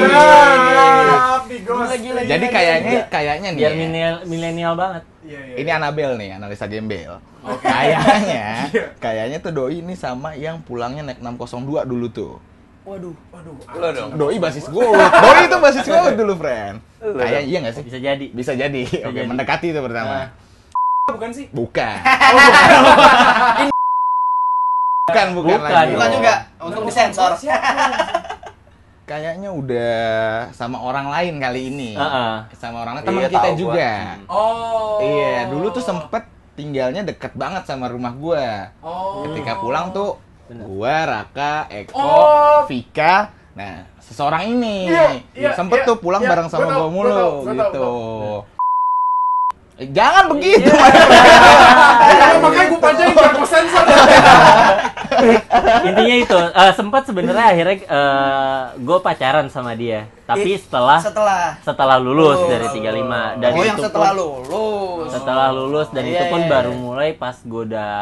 S4: Ghosting.
S2: Mantap, di ghosting.
S3: Jadi kayaknya kayaknya nih.
S4: biar
S3: ya,
S4: milenial milenial banget
S2: Iya, iya,
S3: Ini
S2: iya.
S3: Anabel nih, analisa gembel. Kayaknya,
S4: Iya.
S3: kayaknya tuh doi ini sama yang pulangnya naik 602 dulu tuh.
S1: Waduh.
S2: Waduh, Ah,
S6: Lo dong.
S3: Doi basis gold. Doi itu basis gold dulu, friend.
S6: Lu
S3: Kayak
S6: dong.
S3: iya gak sih?
S4: Iya. bisa jadi
S3: Bisa jadi. Oke,
S4: jadi.
S3: mendekati itu
S4: Nah. Oh,
S3: pertama.
S2: ah, bukan sih?
S3: Bukan. bukan, bukan,
S4: Bukan.
S3: lagi.
S1: Bukan juga, untuk disensor.
S3: Kayaknya udah sama orang lain kali ini.
S4: Heeh.
S3: Sama orang lain teman
S6: Iya,
S3: kita
S6: tahu gua.
S3: juga.
S4: Hmm.
S2: Oh.
S3: Iya, dulu tuh sempet tinggalnya deket banget sama rumah gua.
S2: Oh.
S3: Ketika pulang tuh
S4: Bener.
S3: gua, Raka, Eko,
S2: Oh.
S3: Vika, nah seseorang ini
S2: Iya, iya,
S3: sempet
S2: iya,
S3: tuh pulang
S2: iya.
S3: bareng sama
S2: Gua
S3: gua
S2: tahu,
S3: mulu
S2: gua tahu, Iya. gua tahu,
S3: gitu. Eh, Jangan begitu.
S2: Ah, iya, makanya gue panjangin jangan gue sensor.
S4: intinya itu eh, sempat sebenarnya akhirnya gue pacaran sama dia tapi setelah
S1: Setelah
S4: setelah lulus
S1: Eh, Oh.
S4: dari 35 dan
S1: oh
S4: itu
S1: yang setelah
S4: pun
S1: lulus.
S4: setelah lulus dan
S1: Iya,
S4: itu pun
S1: iya,
S4: baru
S1: iya.
S4: mulai pas gue udah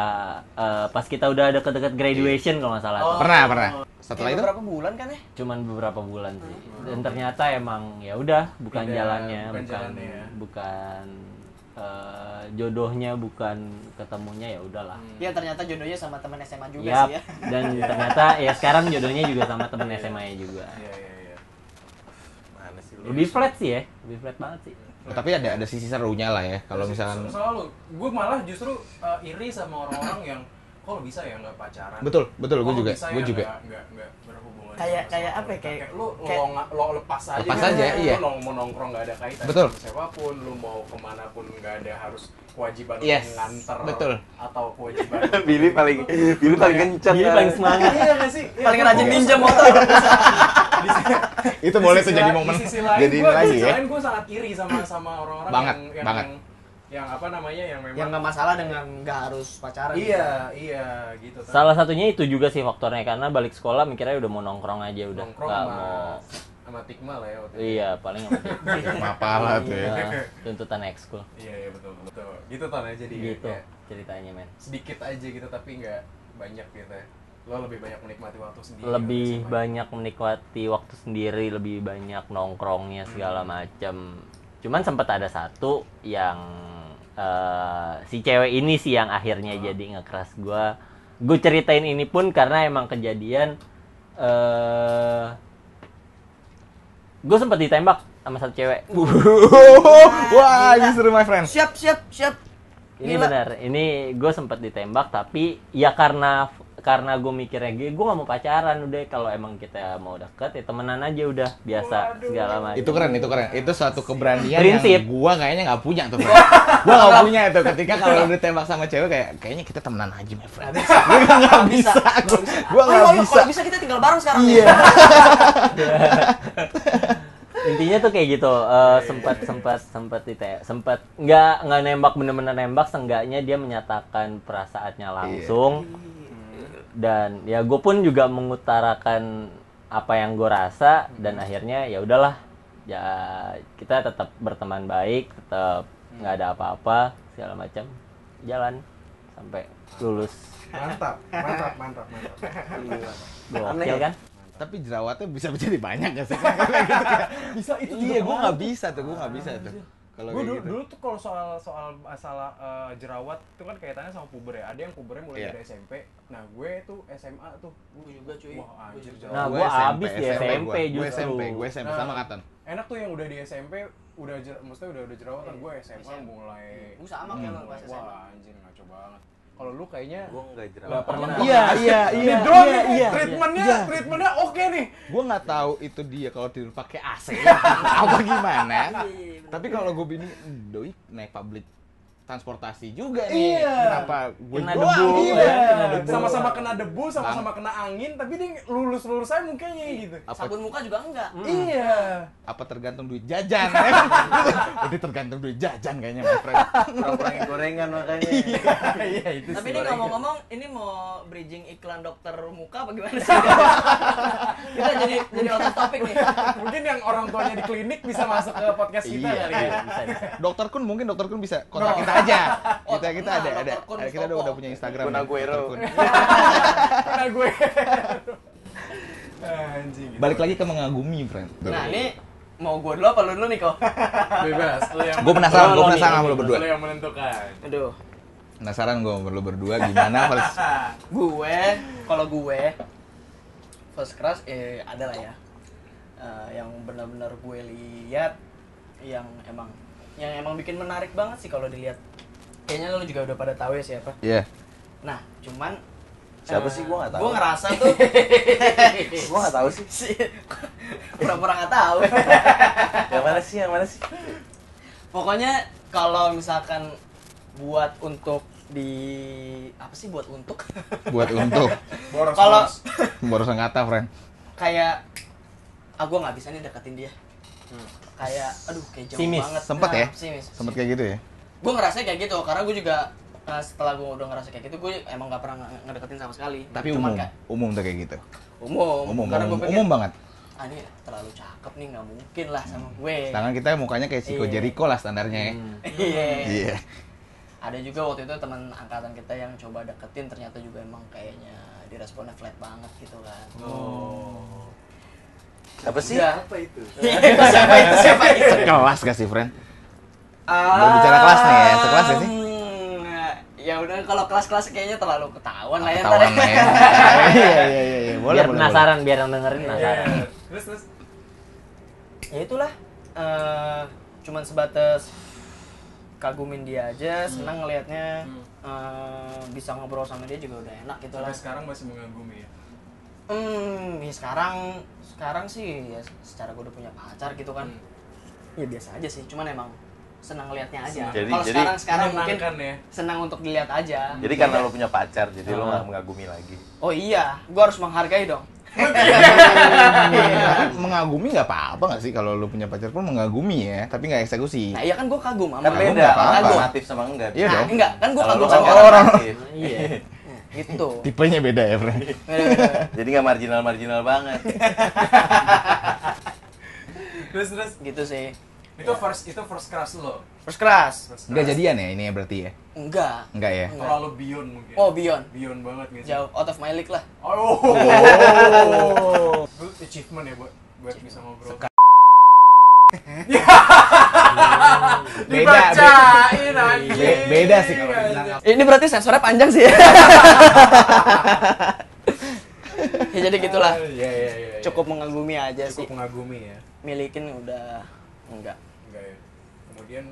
S4: eh, pas kita udah deket-deket graduation kalau nggak salah tuh.
S1: Oh.
S3: pernah, pernah. Setelah
S2: Iya,
S1: Eh,
S3: itu
S1: berapa bulan kan ya?
S4: cuman beberapa bulan sih dan ternyata emang ya udah bukan
S2: Beda-
S4: jalannya
S2: bukan
S4: bukan
S2: jalannya ya.
S4: bukan eh, jodohnya bukan ketemunya ya udahlah
S1: Ya
S6: Iya,
S1: ternyata jodohnya sama teman SMA juga
S4: Yap,
S1: sih ya.
S4: dan ternyata ya sekarang jodohnya juga sama temen SMA-nya juga.
S2: Iya, iya, iya.
S6: Mana sih lu?
S4: Lebih flat sih ya, lebih flat banget sih.
S3: Oh, tapi ada ada sisi serunya lah ya kalau misalkan
S2: selalu gue malah justru uh, iri sama orang-orang yang kok lo bisa ya nggak pacaran
S3: Betul, betul, gue
S2: Kok lo
S3: juga,
S2: bisa ya
S3: gue juga.
S2: nggak- nggak nggak berhubungan
S1: Kayak-
S2: sama
S1: kayak
S2: sama
S1: apa ya,
S2: wanita?
S1: kayak-
S2: lo
S1: kayak-
S2: lo, lo lepas aja
S3: Lepas
S2: gitu.
S3: aja, iya.
S2: lo mau nongkrong nggak ada kaitan
S3: Betul.
S2: sama siapapun lo mau kemana pun nggak ada harus kewajiban untuk
S3: Yes,
S2: nganter
S3: betul.
S2: atau kewajiban
S6: Oh, Billy paling Billy paling kenceng. kan.
S4: Dia paling semangat.
S2: iya nggak sih Iya,
S1: Paling
S2: gua-
S1: rajin
S2: gua-
S1: ninja motor.
S2: di sisi-
S3: itu
S2: di
S3: boleh
S2: sisi
S3: tuh jadi
S2: la-
S3: momen
S2: di sisi lain,
S3: jadi
S2: gua,
S3: lagi
S2: di sisi
S3: ya
S2: lain gue sangat iri sama sama orang-orang
S3: Banget,
S2: yang, yang,
S3: banget.
S2: yang yang apa namanya yang memang
S3: Ya,
S1: yang nggak masalah dengan nggak harus pacaran.
S2: Iya, iya gitu. kan.
S4: Salah satunya itu juga sih faktornya karena balik sekolah mikirnya udah mau nongkrong aja udah
S2: Nongkrong
S4: nggak
S2: sama,
S4: mau.
S2: sama Tikma lah ya waktu itu.
S4: Iya, paling apa sih?
S3: apalah tuh ya
S4: Iya, tuntutan ekskul
S2: Iya, iya betul, betul. Gitu Ton ya jadi
S4: gitu
S2: kayak
S4: ceritanya men.
S2: sedikit aja gitu tapi nggak banyak gitu ya. Lo lebih banyak menikmati waktu sendiri. kan
S4: Lebih
S2: banyak.
S4: banyak menikmati waktu sendiri, lebih banyak nongkrongnya segala macem. Cuman sempat ada satu yang eh, si cewek ini sih yang akhirnya jadi ngekeras gua. Gue ceritain ini pun karena emang kejadian eh gue sempat ditembak sama satu cewek.
S3: Oh, wah ini seru my friend
S1: Siap, siap, siap.
S4: Ini
S1: Gila.
S4: benar. Ini gue sempat ditembak tapi ya karena karena gue mikirnya gue gue gak mau pacaran udah kalau emang kita mau deket ya temenan aja udah biasa segala macam.
S3: itu kan keren itu keren itu suatu keberanian
S4: Prinsip.
S3: yang gua kayaknya nggak punya tuh friend. gua nggak punya itu ketika kalau udah tembak sama cewek kayak kayaknya kita temenan aja my friend gua nggak bisa gua gua
S1: Ayo,
S3: nggak
S1: ayo,
S3: bisa
S1: kalau bisa kita tinggal bareng sekarang. ya.
S3: iya
S1: nih.
S4: Intinya tuh kayak gitu.
S3: Iya,
S4: eh, sempat sempat sempat dite sempat nggak nggak nembak bener-bener nembak. Seenggaknya dia menyatakan perasaannya
S3: Iya.
S4: langsung.
S3: Hmm.
S4: Dan ya gue pun juga mengutarakan apa yang gue rasa dan
S3: Hmm.
S4: akhirnya ya udahlah ya kita tetap berteman baik tetap
S3: Hmm.
S4: nggak ada apa-apa segala macam jalan sampai lulus
S2: Mantap, mantap, mantap, mantap.
S4: gokil
S3: ya?
S4: kan
S3: tapi jerawatnya bisa menjadi banyak gak sih Gitu kayak,
S2: Bisa itu juga
S3: iya gua nggak
S2: banget.
S3: bisa tuh gua nggak bisa tuh kalau
S2: Gue
S3: kayak
S2: dulu,
S3: gitu.
S2: dulu tuh kalau soal soal masalah eh, jerawat itu kan kaitannya sama puber ya. Ada yang pubernya mulai
S3: Iya.
S2: dari SMP. Nah gue tuh SMA tuh.
S1: Gue juga cuy.
S2: Wah anjir jerawat.
S4: Nah,
S3: Oh, Gua
S4: gua
S3: SMP,
S4: abis di SMP
S3: gua. Gua
S4: justru.
S3: SMP, gua SMP sama
S2: Nah.
S3: Katan.
S2: enak tuh yang udah di SMP udah jer maksudnya udah udah jerawatan gue SMA
S1: Iya.
S2: mulai
S1: Gua sama kayak lo pas
S2: mulai-
S1: SMA.
S2: wah anjir ngaco banget kalau lu kayaknya
S6: Gua enggak
S2: nggak
S6: jerawat.
S2: pernah
S3: Iya, iya, iya.
S2: ini doang
S3: iya,
S2: nih
S3: iya,
S2: treatmentnya treatmentnya oke nih
S3: Gua nggak tahu itu dia kalau tidur pakai AC apa gimana.
S1: Iya,
S3: Tapi kalau gue bini doi naik public transportasi juga nih.
S2: Iya.
S3: Kenapa gue
S4: Kena
S3: doang?
S4: debu,
S3: Iya.
S4: ya, kena debu.
S2: sama-sama kena debu sama-sama kena angin tapi dia lulus lulus saya mukanya
S1: Iya.
S2: gitu
S3: Apa,
S1: Sabun muka juga enggak.
S2: iya
S3: apa tergantung duit jajan? Udah tergantung duit jajan kayaknya, my friend.
S6: Orang gorengan makanya.
S2: iya itu
S1: Tapi
S2: sih
S1: ini
S2: orang.
S1: ngomong-ngomong, ini mau bridging iklan dokter muka apa gimana sih? kita jadi jadi out of topic nih.
S2: mungkin yang orang tuanya di klinik bisa masuk ke podcast kita
S3: Iya.
S2: kali ya
S4: bisa, bisa.
S3: Dokter Kun mungkin Dokter Kun bisa kontak kita aja.
S1: Oh,
S3: Kita kita
S1: kenal,
S3: ada ada.
S1: Dr. Kun
S3: ada- Kita udah
S1: Mustopo.
S3: udah punya Instagram.
S6: Kun
S3: ya,
S6: Aguero.
S3: Dr. Kun.
S2: karena gue anjing gitu.
S3: Balik lagi ke mengagumi, friend.
S1: Nah ini mau gue dulu apa lu dulu nih kok?
S2: bebas lu yang
S3: Gue penasaran, gue
S4: Lo- lo
S3: penasaran
S4: nih,
S3: sama lo berdua.
S2: Lu yang menentukan.
S1: Aduh,
S3: Penasaran gue sama lo berdua gimana vers-
S1: gue kalau gue first crush eh ada lah ya. Eh, yang benar-benar gue lihat yang emang yang emang bikin menarik banget sih kalau dilihat. Kayaknya lu juga udah pada tahu ya siapa.
S3: Iya.
S1: Nah, cuman
S6: Siapa
S1: eh,
S6: sih? Gua nggak tahu.
S1: Gue ngerasa tuh
S6: Gua enggak tahu sih.
S1: si- pura-pura nggak tahu.
S6: Yang mana sih? Yang mana sih?
S1: Pokoknya kalau misalkan buat untuk di apa sih buat untuk
S3: Buat untuk
S2: Boros.
S1: kalau
S3: boros kata, friend.
S1: kayak ah gue nggak bisa nih deketin dia kayak aduh kayak jauh
S4: Simis,
S1: banget
S3: Hmm.
S1: Nah,
S3: sempet ya?
S1: simis
S3: Sempet kayak gitu ya?
S1: gue ngerasa kayak gitu karena gue juga uh, setelah gue udah ngerasa kayak gitu gue emang nggak pernah nge- ngedeketin sama sekali
S3: Tapi
S1: Cuman
S3: umum,
S1: kayak-
S3: umum tuh kayak gitu.
S1: umum,
S3: Umum,
S1: kan? karena
S3: umum,
S1: gue pikir
S3: umum banget.
S1: ah ini terlalu cakep nih nggak mungkin lah sama gue
S3: Tangan kita mukanya kayak Chico
S1: Iya.
S3: Jericho lah standarnya ya.
S1: iya
S3: Iya.
S1: ada juga waktu itu teman angkatan kita yang coba deketin ternyata juga emang kayaknya diresponnya flat banget gitu kan
S6: Apa sih?
S1: Udah.
S7: Apa itu?
S1: siapa itu siapa itu
S3: Sekelas gak sih, friend? Berbicara kelas nih ya, sekelas gak sih?
S1: Hmm, ya udah kalau kelas-kelas kayaknya terlalu ketahuan lah ya ntar
S3: Ketahuan
S1: ya.
S3: lah ya. Iya, iya, iya, iya. Boleh, boleh,
S4: biar
S3: boleh.
S4: penasaran, gitu. biar yang dengerin
S6: Iya.
S4: penasaran.
S7: Iya. Terus terus
S1: ya itulah eh cuman sebatas kagumin dia aja
S7: Hmm.
S1: senang ngelihatnya eh, bisa ngobrol sama dia juga udah enak gitu lah
S7: sampai sekarang masih mengagumi ya.
S1: hmm ya sekarang sekarang sih ya secara gue udah punya pacar gitu kan
S7: Hmm.
S1: ya biasa aja sih cuman emang senang ngelihatnya aja
S6: Jadi-
S1: kalau
S6: jadi-
S1: sekarang sekarang mungkin
S7: Menyenangkan ya.
S1: senang untuk dilihat aja Iya.
S6: Jadi karena lo punya pacar, jadi lo nggak mengagumi lagi.
S1: oh iya gue harus menghargai dong
S3: Iya, Mengagumi nggak apa-apa nggak sih kalau lu punya pacar pun mengagumi ya, tapi nggak eksekusi.
S1: nah iya kan gue kagum sama dia.
S6: Kan
S3: Kagum
S6: beda,
S3: nggak apa-apa.
S6: orang aktif sama enggak.
S3: Iya
S1: nah,
S3: dong.
S1: enggak kan gue
S6: Kalau
S1: kagum
S6: lo
S1: sama
S6: kan
S1: orang
S6: orang aktif.
S4: Iya.
S1: gitu
S3: Tipenya beda ya, friend.
S6: Jadi nggak marginal-marginal banget.
S7: Terus terus
S1: gitu sih
S7: itu first itu first crush lo.
S1: terus keras
S7: First crush.
S3: Nggak jadian ya ini ya berarti ya?
S1: enggak
S3: Nggak ya?
S1: Enggak.
S7: terlalu beyond mungkin.
S1: oh beyond
S7: beyond banget gitu.
S1: jauh out of my league lah
S7: Oh. Itu achievement ya buat buat bisa ngobrol.
S3: Beda, beda.
S7: Dibacain Iya, anjing. Iya,
S3: Be- beda sih kalau bilang
S7: Anjing.
S1: ini berarti sensornya panjang sih ya ya jadi gitulah
S7: Ah, Iya iya iya. iya.
S1: cukup mengagumi aja sih
S7: cukup mengagumi ya.
S1: milikin udah enggak
S7: Enggak ya. Kemudian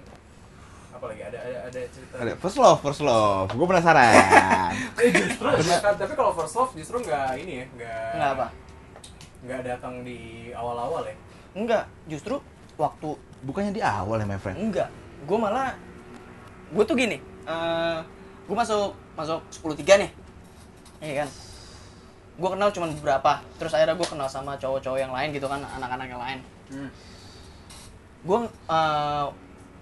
S7: apalagi ada ada ada cerita.
S3: Ada first love, first love. Gue penasaran.
S7: Eh, justru kan, tapi kalau first love justru nggak ini ya, nggak
S1: enggak apa
S7: nggak datang di awal-awal ya.
S1: enggak justru waktu
S3: Bukannya di awal ya, my friend?
S1: enggak gue malah gue tuh gini eh gue masuk masuk sepuluh tiga nih iya kan gue kenal cuman beberapa terus akhirnya gue kenal sama cowok-cowok yang lain gitu kan anak-anak yang lain
S7: Hmm.
S1: gue eh,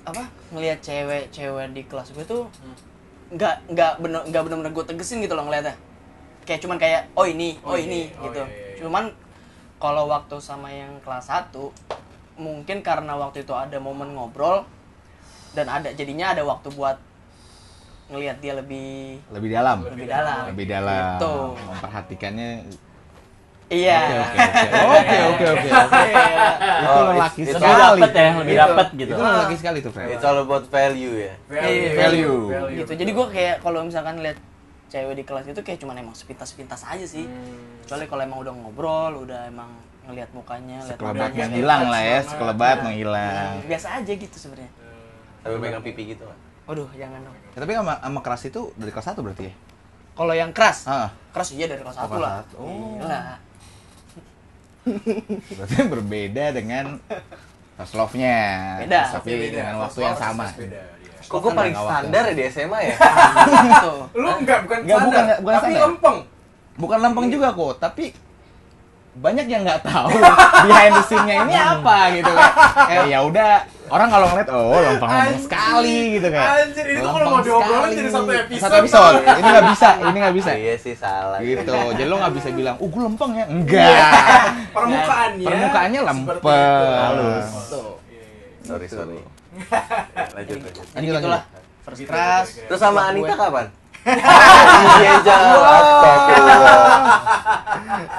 S1: apa ngelihat cewek-cewek di kelas gue tuh nggak nggak bener nggak bener-bener gue tegesin gitu loh ngeliatnya kayak cuman kayak oh ini oh,
S7: Oh, iya,
S1: ini
S7: iya. Oh,
S1: gitu
S7: iya, iya, iya.
S1: cuman kalau waktu sama yang kelas 1 mungkin karena waktu itu ada momen ngobrol dan ada jadinya ada waktu buat ngelihat dia lebih
S3: Lebih dalam.
S1: lebih dalam
S3: Lebih dalam.
S1: Gitu.
S3: Memperhatikannya.
S1: iya
S3: Oke, oke, oke, oke. Iya, Itu
S6: Oh,
S3: lelaki
S6: it's- it's
S4: Lebih
S3: sekali.
S4: dapet ya, lebih
S1: Gitu.
S4: dapet gitu.
S3: Itu lelaki sekali tuh, friend.
S6: It's all about value ya.
S1: Iya,
S3: value.
S1: gitu jadi gue kayak kalau misalkan lihat cewek di kelas itu kayak cuman emang sepintas-sepintas aja sih
S2: Hmm.
S1: kecuali kalau emang udah ngobrol udah emang ngelihat mukanya lihat
S3: Sekelebat
S1: mukanya,
S3: menghilang lah ya,
S7: Semangat.
S3: sekelebat
S1: Nah.
S3: menghilang.
S1: Hmm, biasa aja gitu sebenarnya
S6: Sampai pegang pipi gitu kan.
S1: waduh jangan dong
S3: Ya, tapi sama, sama keras itu dari kelas 1 berarti ya?
S1: kalau yang keras
S3: Ah,
S1: keras iya dari kelas
S3: Oh,
S1: satu
S3: kelas
S1: lah
S3: satu. Oh.
S1: Iyalah.
S3: berarti berbeda dengan first love-nya.
S1: Beda.
S3: Tapi dengan waktu yang sama.
S6: Kok gue paling
S3: Nggak
S6: standar ya di SMA ya?
S1: gitu
S7: Lu enggak bukan
S3: Nggak, bukan-
S7: standar,
S3: bukan
S7: tapi
S3: standar.
S7: lempeng.
S3: Bukan
S7: Iya.
S3: lempeng juga kok, tapi banyak yang nggak tahu behind the scene-nya ini
S1: Iya.
S3: apa gitu kan. Eh ya udah, orang kalau ngeliat oh lempeng lempeng
S7: Anjir.
S3: sekali gitu kan.
S7: Anjir, ini tuh kalau mau
S3: Lempeng
S7: diobrolin
S3: sekali.
S7: jadi satu episode.
S3: Satu episode. Ini nggak bisa, ini nggak bisa.
S6: Iya sih salah.
S3: gitu. Jadi lo nggak bisa bilang, "Uh, gue lempeng ya."
S1: Iya.
S3: Enggak.
S7: Permukaannya.
S3: Permukaannya
S7: ya. seperti
S3: lempeng.
S7: itu.
S3: Halus.
S7: Oh, iya, iya.
S6: Sorry, sorry. Lanjut, lanjut.
S1: jadi
S3: Lanjut,
S1: gitulah first
S7: Gitu,
S1: keras
S7: kira-kira.
S6: Terus sama Anita kapan? Iya, Jal.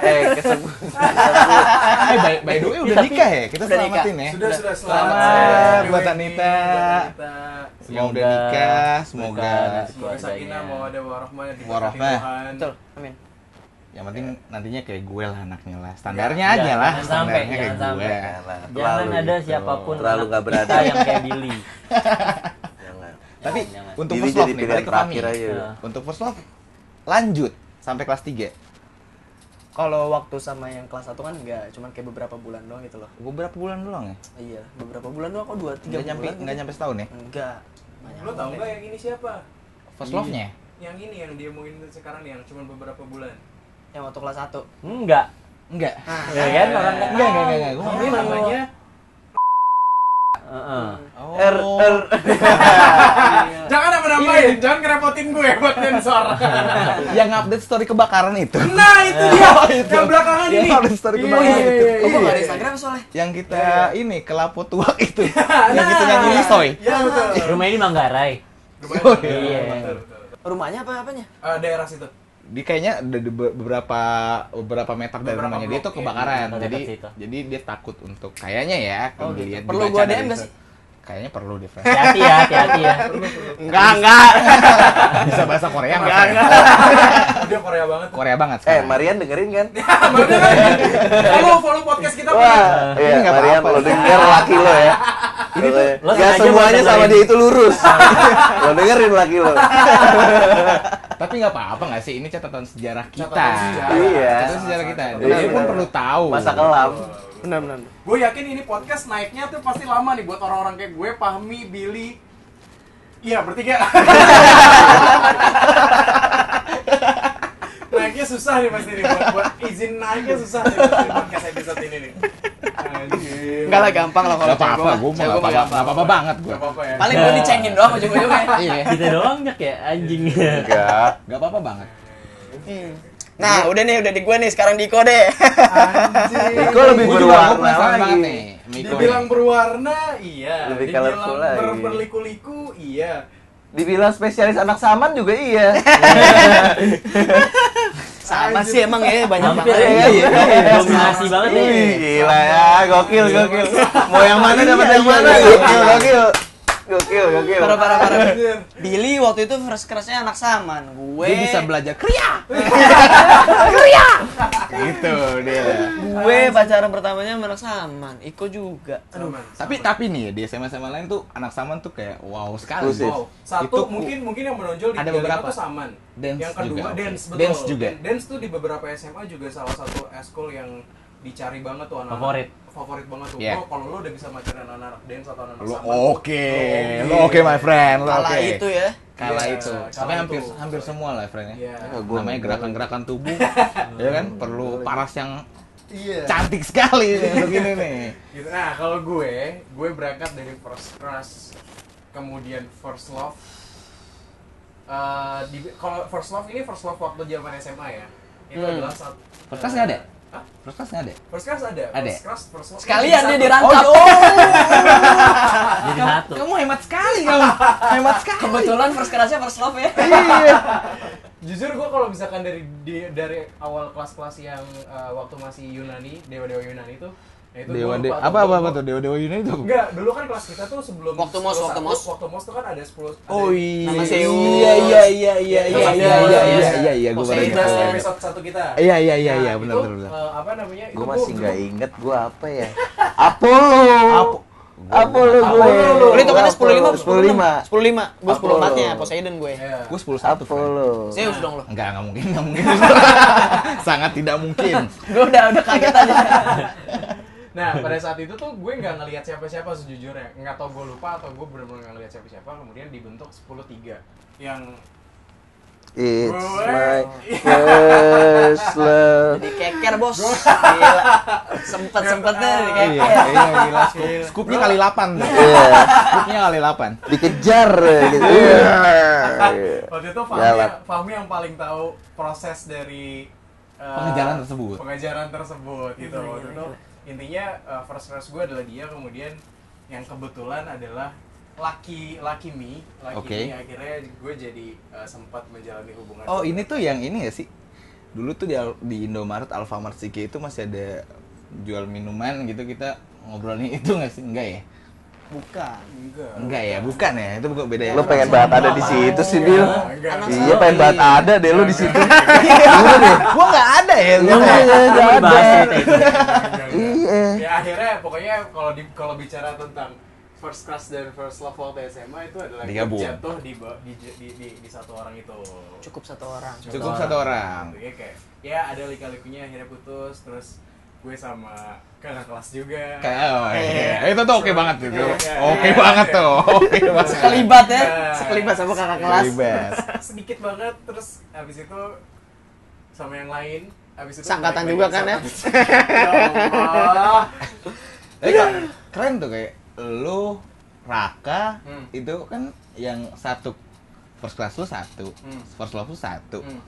S6: Eh, kesebut.
S3: Eh, by, by the way udah
S4: Tapi-
S3: nikah ya? Kita
S1: Iya, Udah
S3: selamatin ya.
S7: Sudah, sudah
S3: Selamat
S7: Selamat
S3: buat
S7: Dewi,
S3: Anita.
S7: buat Anita.
S3: Yang udah nikah, semoga
S7: Semoga Sakina mau ada warahmah di
S3: Warohmah.
S7: Tuhan.
S1: betul amin
S3: yang penting nantinya kayak gue lah anaknya lah. Standarnya
S4: Jangan-
S3: aja lah,
S4: jangan sampai,
S3: standarnya kayak
S4: jangan
S3: gue.
S6: Jangan,
S4: Jangan
S6: terlalu
S4: ada
S6: gitu.
S4: siapapun
S6: Terlalu
S4: anak
S6: nggak berada.
S4: kita yang kayak Billy.
S6: Jangan.
S3: Tapi
S4: Jangan.
S3: untuk
S6: Billy
S3: first love
S6: jadi
S3: nih,
S6: pilihan
S3: balik ke Fami.
S6: terakhir aja.
S4: Nah.
S3: Untuk first love lanjut sampai kelas 3.
S1: kalau waktu sama yang kelas satu kan enggak cuman kayak beberapa bulan doang gitu loh
S3: Gue berapa bulan doang ya?
S1: iya beberapa bulan doang kok dua tiga
S3: Enggak nyampe
S1: bulan
S3: enggak nyampe setahun ya.
S1: enggak
S7: Lo tau nggak yang ini siapa?
S3: First love-nya.
S7: Yang ini yang dia mungkin sekarang yang cuma beberapa bulan.
S1: yang waktu kelas satu
S4: Enggak.
S3: Enggak.
S4: Ya kan orang
S3: Oh, iya. Enggak, enggak, enggak. Gue
S7: Ini namanya
S4: Heeh.
S3: Er, er.
S8: Jangan nambah-nambahin, jangan ngerepotin gue buat sensor.
S3: yang update story kebakaran itu.
S2: Iya,
S8: nah itu dia, yang belakangan
S3: Yang
S8: ini.
S3: update story kebakaran
S8: Iya,
S3: itu.
S8: iya, iya,
S1: Kamu
S8: iya.
S1: nggak ada Instagram soalnya?
S3: Yang kita ini kelapo tuak itu. yang kita nyanyi misoy.
S2: Iya betul.
S4: Rumah ini Manggarai.
S2: Rumahnya-
S4: Iya.
S2: betul, betul.
S1: Rumahnya apa apanya?
S2: Eh, daerah situ.
S3: Di kayaknya ada di be- beberapa beberapa meter dari
S2: Beberapa
S3: rumahnya dia
S2: blok,
S3: tuh
S2: iya.
S3: kebakaran.
S4: Dekat
S3: jadi
S4: situ.
S3: jadi dia takut untuk kayaknya ya kalau
S1: gitu.
S3: dilihat
S1: Perlu
S3: dibaca
S1: gua
S3: dari
S1: DM nggak
S3: itu.
S1: sih?
S3: Kayaknya perlu deh, Fran.
S4: Hati-hati ya, hati-hati ya.
S3: Enggak, enggak. Bisa bahasa Korea enggak? Fran?
S2: Dia Korea banget. Ah,
S3: Korea banget
S6: Eh,
S3: sekarang.
S6: Marian dengerin kan?
S2: Follow follow podcast kita.
S6: Wah,
S3: Ini
S6: iya,
S3: nggak
S6: Marian
S3: apa-apa.
S6: lo denger laki lo ya. Ini tuh,
S4: lo
S6: ya
S4: sengaja
S6: semuanya
S4: buat
S6: sama
S4: dengerin.
S6: dia itu lurus. lo dengerin laki lo.
S3: Tapi nggak apa-apa nggak sih? Ini catatan sejarah kita.
S2: sejarah.
S6: Iya.
S3: Catatan sejarah kita.
S6: Iya,
S3: Dia pun
S6: benar.
S3: perlu tahu.
S6: Masa kelam.
S9: benar benar
S2: Gue yakin ini podcast naiknya tuh pasti lama nih buat orang-orang kayak gue, Pahmi, Billy. Iya, bertiga. naiknya susah nih pasti nih buat, buat izin naiknya susah nih pasti podcast episode ini nih. Anjir.
S9: enggak lah gampang lah kalau
S3: Gak apa-apa, gue mau gak apa-apa, nggak apa-apa banget gue.
S2: Gak apa-apa ya.
S1: Paling gue dicengin doang ujung-ujungnya.
S3: Iya,
S4: Kita doang Jack, ya anjing.
S6: Iya, Enggak.
S3: gak apa-apa banget.
S1: Nah, udah nih, udah di gue nih, sekarang Diko deh.
S2: Anjir.
S6: Miko lebih
S3: Gua juga- gua
S6: berwarna
S3: penasaran banget
S6: lagi.
S3: nih, Miko.
S2: Dibilang berwarna, iya.
S6: Lebih
S2: Dibilang
S6: colorful lagi.
S2: ber- berliku-liku, iya.
S6: Dibilang spesialis anak saman juga iya.
S1: Sama sih emang ya, banyak
S4: Hampir
S1: banget.
S6: iya,
S4: ya.
S6: iya.
S4: Dominasi banget nih.
S6: Ih, Gila ya, gokil gokil. Mau yang mana dapat yang mana?
S3: iya, iya.
S6: Gokil gokil. Gokil gokil.
S1: Parah, parah, parah.
S2: Anjir.
S1: Billy waktu itu first crush-nya anak saman. Gue
S3: Dia bisa belajar kriya. kriya. gitu dia.
S1: gue pacaran pertamanya sama anak saman. Iko juga. Aduh.
S2: Saman.
S3: Tapi tapi nih di SMA SMA lain tuh anak saman tuh kayak wow sekali.
S6: Eksklusif.
S2: Wow. Satu
S3: Itu ku-
S2: mungkin mungkin yang menonjol di
S3: Ada
S2: Piala
S3: beberapa.
S2: itu saman.
S3: Dance
S2: yang kedua
S3: juga, oke.
S2: dance betul.
S3: Dance juga.
S2: Dan- Dance tuh di beberapa SMA juga salah satu eskul yang dicari banget tuh anak
S4: Favorit.
S2: favorit banget tuh.
S3: Iya.
S2: Lo kalau lo udah bisa pacaran anak-anak dance atau anak-anak
S3: Lo
S2: saman. tuh,
S3: oke,
S2: lo
S3: lo oke my friend, lo
S1: Kala
S3: oke.
S1: itu ya.
S3: Kala
S2: Iya,
S3: itu.
S2: kala
S3: Tapi
S2: itu.
S3: hampir hampir semua lah friend ya.
S2: Iya.
S6: Ya, gua
S3: Namanya
S6: nggak.
S3: gerakan-gerakan tubuh, ya kan perlu paras yang
S2: Iya.
S3: cantik sekali nih, untuk ini nih.
S2: Gitu. Nah, kalau gue, gue berangkat dari first crush, kemudian first love. Eh, di- kalau first love ini first love waktu zaman SMA ya. Itu adalah saat
S3: First crush nggak ada?
S2: Hah?
S3: Terus kelas nggak ada?
S2: First crush ada.
S3: Ada.
S2: First crush, first love.
S1: Sekalian dia
S2: Satu.
S1: dirangkap.
S4: Jadi satu.
S3: Kamu hemat sekali kamu, hemat sekali.
S1: Oh, Kebetulan first crush-nya first love ya.
S2: Jujur gue kalau misalkan dari di- dari awal kelas-kelas yang eh, waktu masih Yunani, dewa-dewa Yunani itu, nah itu
S3: Dewa
S2: gua
S3: dewa
S2: lupa
S3: apa apa apa
S2: gua-
S3: tuh dewa dewa Yunani tuh?
S2: Enggak, dulu kan kelas kita tuh sebelum
S1: Waktu mos,
S2: 10
S1: waktu
S2: satu,
S1: mos.
S2: Waktu mos tuh kan ada 10 ada-
S3: Oh iya
S1: Nama Zeus.
S3: iya iya iya iya iya iya iya iya iya iya gue
S2: Jadi
S1: Poseidon.
S2: bahas
S1: Iya.
S2: episode satu kita.
S3: Iya iya iya iya
S2: Nah,
S3: benar
S2: itu,
S3: benar benar.
S2: eh, apa namanya?
S6: Gue
S2: itu
S6: masih
S2: gua-
S6: nggak inget gue apa ya. Apollo.
S3: Apo-
S6: Apollo gue.
S2: Apollo.
S1: Lu itu kan 10 lima,
S6: 10 Iya, lima.
S1: 10 lima. Gue 10
S6: Apollo.
S1: empatnya, Poseidon gue.
S2: Iya.
S3: Gue sepuluh satu.
S6: Apollo.
S1: Zeus dong lo.
S3: Enggak enggak mungkin enggak mungkin. Sangat tidak mungkin.
S1: Gue udah udah kaget aja.
S2: Nah, pada saat itu tuh gue nggak ngelihat siapa-siapa sejujurnya. Nggak tau gue lupa atau gue benar-benar nggak ngelihat siapa-siapa. Kemudian dibentuk 10-3 yang
S6: It's
S2: Gue-
S6: my first love.
S1: Di keker bos. Gila. Sempet sempetnya di
S3: Iya
S1: keker.
S3: iya gila scoop. Scoopnya kali delapan.
S6: Iya.
S3: Scoopnya kali delapan.
S6: Dikejar gitu. Iya.
S2: waktu itu Fahmi,
S6: Jalan.
S2: Fahmi yang paling tahu proses dari eh,
S3: Pengejaran tersebut.
S2: Pengejaran tersebut gitu.
S1: Gila,
S2: Waktu
S1: gila,
S2: itu intinya eh, first crush gue adalah dia kemudian yang kebetulan adalah laki laki mi laki
S3: Oke.
S2: mi akhirnya gue jadi eh, sempat menjalani hubungan
S3: Oh ini tuh yang ini ya sih? Dulu tuh di, Al- di Indomaret Alfamart Siki itu masih ada jual minuman gitu kita ngobrolnya itu nggak sih? Enggak ya?
S1: Bukan.
S2: enggak
S3: Enggak ya, bukan ya. Itu bukan beda ya.
S6: Lo pengen banget ada di situ sih, Bil.
S2: enggak
S1: Anak
S6: Iya, pengen banget ada deh lo di situ.
S3: Iya, Gua nggak ada ya.
S4: Lu
S6: Iya,
S4: mau mau dibahas cerita itu.
S2: Enggak,
S1: Iya.
S2: enggak. ya akhirnya pokoknya kalau di kalau bicara tentang first crush dan first love waktu SMA itu adalah
S3: Digabung.
S2: jatuh di, ba- di, di, di, di satu orang itu
S1: Cukup satu orang.
S3: Cukup satu orang.
S2: Gitu ya kayak ya ada lika-likunya akhirnya putus terus gue sama kakak kelas juga
S3: Kayak oh, iya. itu tuh oke banget tuh.
S2: Iya, iya.
S3: Oke banget tuh. Oke banget.
S1: Sekelibat ya.
S2: Nah.
S1: Sekelibat sama kakak kelas.
S3: Bebas.
S2: sedikit banget terus habis itu sama yang lain habis itu
S1: Seangkatan
S2: balik
S1: juga ya?
S2: lagi
S1: kan,
S2: sama- ya Allah
S3: Tapi keren- keren tuh kayak lu Raka
S2: Hmm.
S3: itu kan yang satu first class lu satu
S2: Hmm.
S3: first love lu satu
S2: Hmm.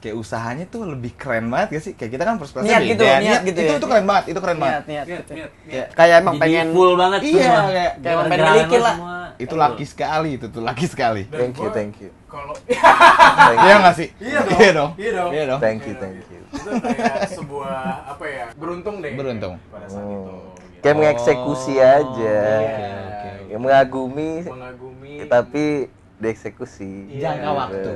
S3: kayak usahanya tuh lebih keren banget gak sih kayak kita kan first class
S10: Niat gitu, niat gitu
S3: itu
S10: ya.
S3: itu keren banget itu keren banget
S10: niat niat
S2: Niat, niat, niat.
S3: Kayak,
S10: kayak emang
S4: Jadi
S10: pengen
S4: full banget
S3: Iya,
S4: semua.
S3: kayak-
S10: kayak emang pengen
S4: Jalan-jalan
S10: milikin lah.
S4: semua.
S3: itu
S4: Eh,
S3: laki sekali itu tuh laki sekali
S2: Dan
S6: Thank you,
S2: gua
S6: thank you.
S2: Kalau
S6: Thank
S3: Iya nggak sih?
S2: Iya dong.
S3: Iya dong.
S2: Iya dong.
S3: Iya dong.
S6: Thank you, thank you.
S2: itu kayak sebuah apa ya? Beruntung deh.
S3: Beruntung.
S2: Pada saat itu. gitu.
S6: Kayak mengeksekusi aja.
S3: Oh, Oke, oke,
S6: Ya, mengagumi
S2: Mengagumi.
S6: tapi dieksekusi.
S3: Jangka
S6: Gitu.
S3: waktu.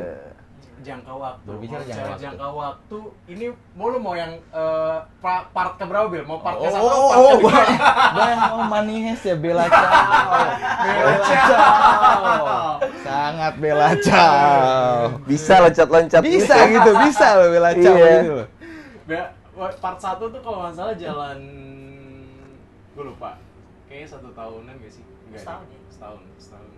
S2: jangka waktu.
S3: Berbicara
S2: Kalau
S3: jangka
S2: bicara
S3: waktu.
S2: waktu, Ini mau lu mau yang eh, pa- part ke berapa, Bil? Mau part
S3: Oh,
S2: ke satu
S3: oh,
S2: part
S3: oh,
S2: ke dua?
S3: Bang, oh manis ya Bella Ciao. Bella Ciao. Sangat Bella Ciao.
S6: Bisa loncat-loncat
S3: Bisa gitu, bisa loh Bella Ciao
S6: Iya.
S3: gitu loh.
S2: Nggak, part satu tuh kalau nggak salah jalan gue lupa. Kayaknya satu tahunan gak sih? Enggak.
S1: Setahun ya?
S2: Setahun, setahun.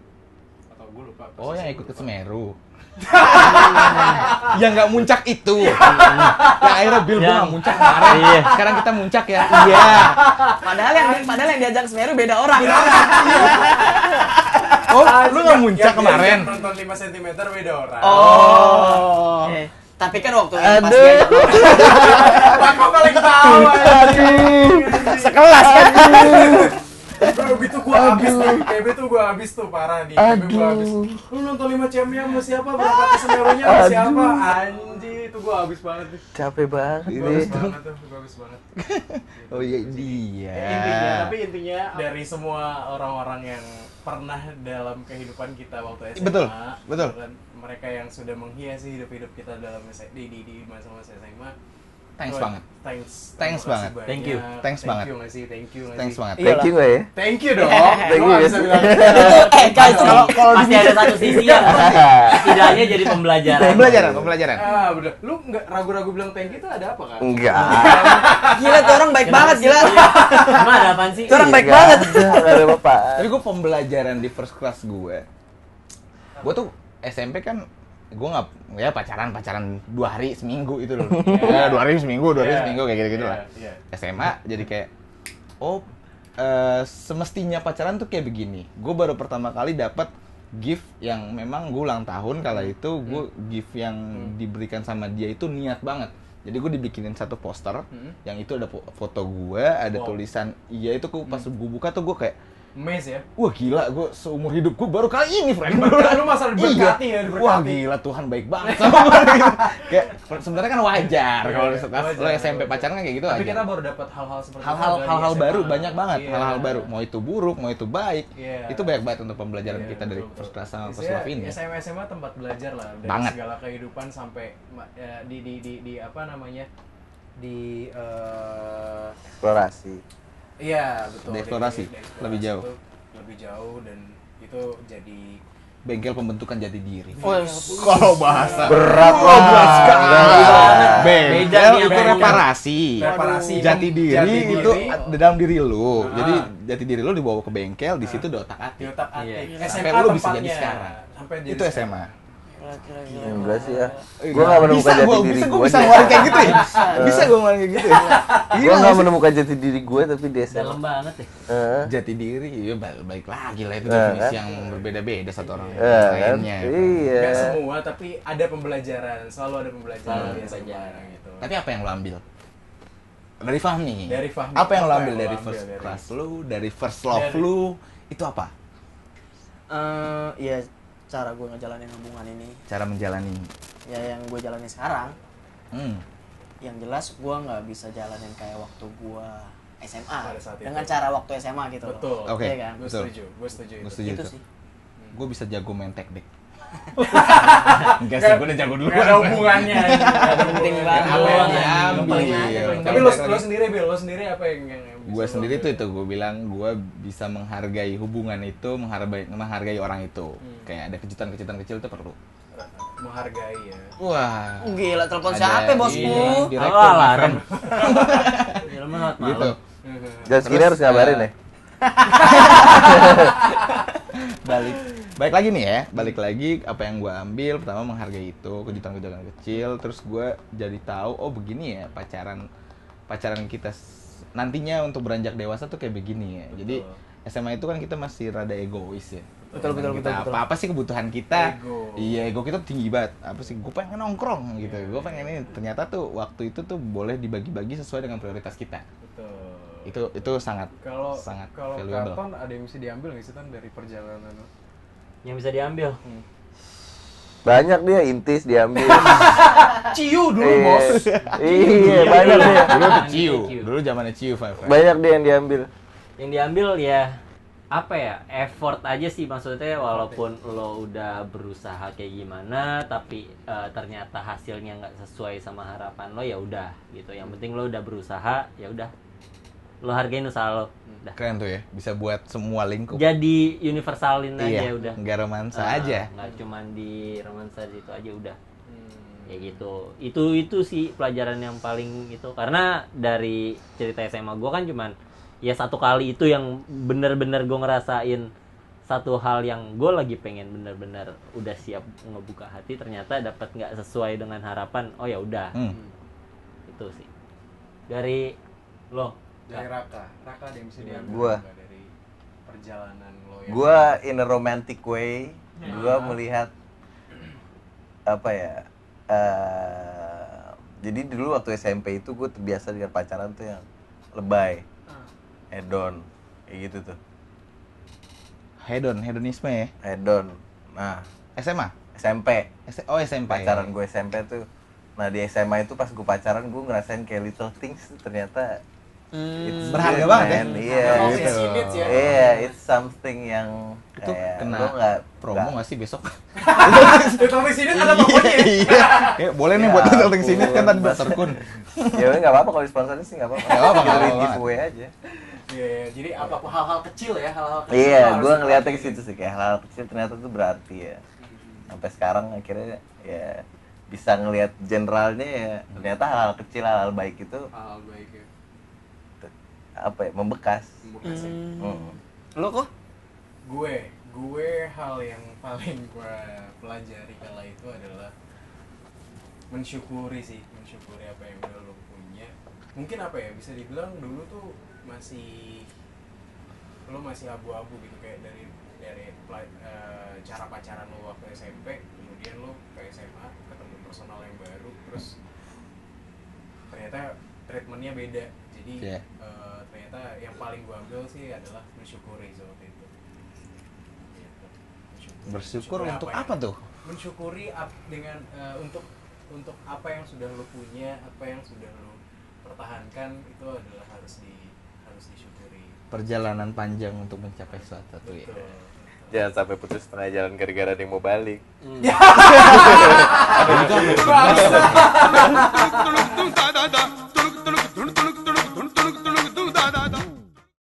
S2: Atau gue lupa.
S3: Oh,
S2: persisnya
S3: yang ikut
S2: gua
S3: ke
S2: lupa.
S3: Semeru. yang nggak muncak itu. yang akhirnya Bill gua
S4: Yang-
S3: nggak muncak kemarin.
S4: Iya.
S3: Sekarang kita muncak ya. Iya.
S1: Padahal yang padahal yang diajak Semeru beda orang.
S3: Oh, lu nggak muncak
S2: Yang-
S3: kemarin.
S2: Yang nonton 5 cm beda orang.
S1: Oh. Eh, Tapi kan waktu eh, yang pas dia
S2: Pak kok paling tahu aja.
S10: sekelas kan
S2: Bro, gitu gua habis tuh. KB tuh gua habis tuh parah nih. KB gua habis. Lu nonton 5 cm sama siapa? Berangkat ke Semerunya sama siapa? Anjir, itu gua habis banget. nih.
S6: Capek banget
S2: Gua
S6: ini.
S2: habis banget tuh, gua habis banget.
S3: Oh iya
S2: Ya, intinya
S3: dia.
S2: tapi intinya dari semua orang-orang yang pernah dalam kehidupan kita waktu SMA
S3: Betul, betul.
S2: gitu kan, mereka yang sudah menghiasi hidup-hidup kita dalam S- di di, di masa-masa SMA
S3: Thanks
S2: gua-
S3: banget.
S2: thanks
S3: Thanks
S2: terima kasih
S3: banget.
S2: banyak.
S4: Thank you.
S3: Thanks banget.
S2: thank you nggak sih thank you nggak
S3: Thanks
S2: sih?
S3: banget.
S6: Thank you nggak ya?
S2: thank you dong thank
S6: you,
S2: you
S6: guys.
S2: bisa bilang
S1: eh guys,
S4: Kalau kalau pasti ada satu sisi ya. Setidaknya jadi pembelajaran.
S3: Pembelajaran, pembelajaran.
S2: ah bener lu nggak ragu-ragu bilang thank you itu ada apa kan
S6: Enggak.
S1: gila tuh orang baik banget gila.
S4: Emang ada apaan sih?
S1: Itu orang baik
S6: Enggak
S1: banget.
S6: ada, Enggak ada apa
S3: Tapi gue pembelajaran di first class gue. Gue tuh SMP kan gue nggak ya pacaran pacaran dua hari seminggu itu loh. Ya, dua hari seminggu, dua hari
S2: Iya.
S3: seminggu kayak gitu gitu
S2: Iya,
S3: lah.
S2: iya.
S3: SMA jadi kayak oh eh, semestinya pacaran tuh kayak begini. Gue baru pertama kali dapat gift yang memang gue ulang tahun kala
S2: Hmm.
S3: itu gue gift yang diberikan sama dia itu niat banget. Jadi gue dibikinin satu poster yang itu ada po- foto gue, ada
S2: Hmm. Wow. Hmm.
S3: tulisan iya itu gua- pas gue buka tuh gue kayak
S2: mes ya
S3: Wah gila, gue seumur hidup gue baru kali ini, friend.
S2: Diberkati, lu masa diberkati ya,
S3: Iya.
S2: diberkati.
S3: Wah gila, Tuhan baik banget sama gue gitu. Kayak sebenarnya kan wajar kalau
S2: Iya,
S3: di sekelas
S2: wajar,
S3: lo SMP
S2: wajar.
S3: pacaran kan kayak gitu
S2: tapi
S3: aja.
S2: kita baru dapat hal-hal seperti itu
S3: Hal-hal
S2: dari
S3: hal-hal
S2: SMA.
S3: baru banyak banget,
S2: Iya.
S3: hal-hal baru. Mau itu buruk, mau itu baik.
S2: Iya.
S3: Itu banyak banget untuk pembelajaran
S2: Iya,
S3: kita dari
S2: betul,
S3: first
S2: betul.
S3: class sama first
S2: Isinya
S3: love ini. ya.
S2: SMA SMA tempat belajar lah dari
S3: Banget.
S2: segala kehidupan sampai ma- ya, di, di di di apa namanya di eh,
S6: Eksplorasi.
S2: iya betul di-
S3: Dieksplorasi,
S2: di- di eksplorasi
S3: lebih jauh.
S2: itu lebih jauh dan itu jadi
S3: Bengkel pembentukan jati diri.
S10: Oh,
S2: Iya,
S3: Kalau bahasa
S6: Berat
S3: Wah,
S6: lah.
S3: berat sekali.
S6: Berat.
S4: Beda
S3: Bengkel
S4: nih
S3: itu
S4: sama-
S3: reparasi.
S2: Reparasi.
S3: Jati diri
S2: Jati diri.
S3: itu di dalam diri lu.
S2: Ah.
S3: Jadi jati diri lu dibawa ke bengkel, di situ
S2: di
S3: udah otak-atik.
S2: otak atik
S4: Iya.
S2: SMA
S3: Sampai lu bisa jadi
S2: tempatnya.
S3: sekarang.
S2: sampai jadi
S3: Itu SMA.
S6: Enggak sih ya.
S3: Eh,
S6: Gue gak menemukan
S3: bisa,
S6: jati
S3: gua,
S6: diri
S3: bisa,
S6: gue.
S3: gua bisa ngeluarin kayak gitu ya? bisa gue ngeluarin kayak gitu ya? Gila,
S6: Gue gak menemukan jati diri gue tapi Eh, di
S4: Dalam
S6: SMA.
S4: banget ya.
S2: Iya.
S6: Heeh.
S3: Jati diri, ya ba- balik lagi lah itu
S6: Eh,
S3: definisi
S6: kan?
S3: yang berbeda-beda satu orang dengan
S6: Iya kan?
S3: lainnya.
S6: Iya.
S2: Nggak semua tapi ada pembelajaran selalu ada pembelajaran
S4: Selalu
S2: di
S4: ada
S2: SMA
S4: pembelajaran.
S2: gitu
S3: Tapi apa yang lo ambil? Dari Fahmi.
S2: Dari Fahmi.
S3: Apa yang lo
S2: Apa
S3: ambil
S2: yang lo
S3: dari
S2: ambil
S3: first
S2: dari-
S3: class lu, dari first love
S2: Dari-
S3: lu? Itu apa?
S1: Eh, Iya cara gue ngejalanin hubungan ini
S3: Cara menjalani.
S1: ya yang gue jalani sekarang
S3: Hmm.
S1: yang jelas gue nggak bisa jalanin kayak waktu gue SMA
S2: Pada saat itu.
S1: dengan cara waktu SMA gitu loh.
S2: betul
S3: Oke. Gitu.
S1: Iya kan?
S2: gue
S3: Betul.
S2: setuju gue setuju
S3: Gue
S2: itu.
S3: setuju
S1: Itu
S3: itu.
S1: sih.
S3: Gue bisa jago main teknik. Enggak sih, gue udah jago dulu.
S2: Gak ada hubungannya. ya. Gak ada
S1: penting
S2: hubungannya.
S1: banget.
S2: Apa
S1: Yang
S2: yang diambil.
S1: penting
S3: aja.
S2: Tapi lo, lo sendiri, Bil, lo sendiri apa yang, yang bisa
S3: gue
S2: lo
S3: sendiri tuh
S2: ambil?
S3: itu gue bilang gue bisa menghargai hubungan itu menghargai menghargai orang itu
S2: Hmm.
S3: kayak ada kejutan-kejutan kecil itu perlu
S2: menghargai ya.
S3: wah
S1: Gila telepon
S3: Ada-
S1: siapa
S3: iya,
S1: bosmu?
S3: direktur,
S4: Halo, alarm.
S3: my
S4: Dalam banget
S3: friend. gitu
S4: malam.
S6: Jam segini harus ngabarin
S3: eh,
S6: ya.
S3: balik balik lagi nih ya balik lagi apa yang gue ambil pertama menghargai itu kejutan-kejutan kecil terus gue jadi tahu oh begini ya pacaran pacaran kita s- nantinya untuk beranjak dewasa tuh kayak begini ya jadi SMA itu kan kita masih rada egois ya.
S1: Betul, betul,
S3: kita,
S1: betul, betul.
S3: Apa apa sih kebutuhan kita?
S2: Ego.
S3: Iya ego kita tinggi banget. Apa sih? Gue pengen nongkrong
S1: Iya,
S3: gitu. Gue pengen ini. Ternyata tuh waktu itu tuh boleh dibagi-bagi sesuai dengan prioritas kita.
S2: Betul.
S3: Itu itu sangat
S11: Kalau
S3: sangat
S11: kalau
S3: valuable.
S11: karton ada yang bisa diambil nggak sih Tan, dari perjalanan lu?
S4: yang bisa diambil
S6: Banyak dia intis diambil.
S1: Ciu dulu
S6: Iya.
S1: bos.
S6: Iya, banyak dia.
S3: Dulu tuh
S4: Ah,
S3: Ciu.
S4: ini Ciu.
S3: Dulu zamannya Ciu Five.
S6: Banyak dia yang diambil.
S4: yang diambil ya apa ya effort aja sih maksudnya walaupun lo udah berusaha kayak gimana tapi eh, ternyata hasilnya nggak sesuai sama harapan lo ya udah gitu yang penting lo udah berusaha ya udah lo hargain usaha lo udah
S3: Keren tuh ya. Bisa buat semua lingkup. Iya,
S4: jadi universalin aja udah
S3: Nggak romansa
S4: Ah,
S3: aja.
S4: nggak cuman di romansa itu aja udah
S1: Hmm.
S4: ya gitu itu itu sih pelajaran yang paling itu karena dari cerita SMA gue kan cuman ya satu kali itu yang bener-bener gue ngerasain satu hal yang gue lagi pengen bener-bener udah siap ngebuka hati ternyata dapat nggak sesuai dengan harapan oh ya udah
S3: Hmm.
S4: itu sih dari lo
S2: Dari Raka. Raka ada yang bisa diambil.
S6: Ya. Gua.
S2: nggak dari perjalanan lo yang
S6: Gua in a romantic way, gua melihat apa ya? eh, jadi dulu waktu SMP itu gue terbiasa dengan pacaran tuh yang lebay,
S3: Ah.
S6: hedon, kayak gitu tuh,
S3: Hedon, hedonisme ya.
S6: hedon. Nah
S3: SMA.
S6: SMP
S3: S- oh SMP.
S6: pacaran gue SMP tuh, nah di SMA itu pas gue pacaran gue ngerasain kayak little things tuh ternyata it's
S3: Hmm, Berharga
S6: good,
S3: banget ya.
S6: man.
S2: Iya,
S6: Iya,
S3: gitu.
S6: it's-
S2: Sinits ya.
S6: Iya, it's something yang
S3: Itu
S6: kayak
S3: kena
S6: lu nggak
S3: Promo
S6: nggak-
S3: nggak sih besok?
S2: Little Sinits ada tokonya ya?
S3: Iya. Ya, boleh nih
S6: Ya
S3: buat datang
S6: ampun.
S3: sini kan tadi Dr. Kun.
S6: ya udah nggak apa-apa kalau sponsornya sih nggak apa-apa
S3: Nggak apa-apa, nggak
S6: Join
S3: apa-apa.
S6: giveaway aja
S2: Iya, iya. jadi apapun hal-hal kecil ya, hal-hal kecil.
S6: iya
S2: harus
S6: gue ngeliatnya ke
S2: diperhatiin.
S6: situ sih kayak hal kecil ternyata tuh berarti ya sampai sekarang akhirnya ya bisa ngelihat generalnya ya ternyata hal-hal kecil hal-hal baik itu
S2: Hal baik ya.
S6: apa ya membekas
S2: Membekas ya.
S6: Hmm.
S1: Lo kok?
S2: Gue, gue hal yang paling gue pelajari kala itu adalah mensyukuri sih, mensyukuri apa yang udah lo punya. Mungkin apa ya bisa dibilang dulu tuh masih lo masih abu-abu gitu kayak dari dari pla- eh, cara pacaran lo waktu SMP, kemudian lo ke SMA ketemu personal yang baru, terus ternyata treatmentnya beda. Jadi
S3: Iya.
S2: eh, ternyata yang paling gua ambil sih adalah mensyukuri seperti itu. Gitu. Mensyukuri.
S3: Bersyukur
S2: Mensyukuri
S3: untuk
S2: yang-
S3: apa tuh?
S2: mensyukuri ap- dengan eh, untuk untuk apa yang sudah lo punya, apa yang sudah lo pertahankan itu adalah harus di harus disyukuri.
S3: Perjalanan panjang untuk mencapai sesuatu tuh ya.
S2: Betul.
S6: jangan sampai putus setengah jalan gara-gara dia mau balik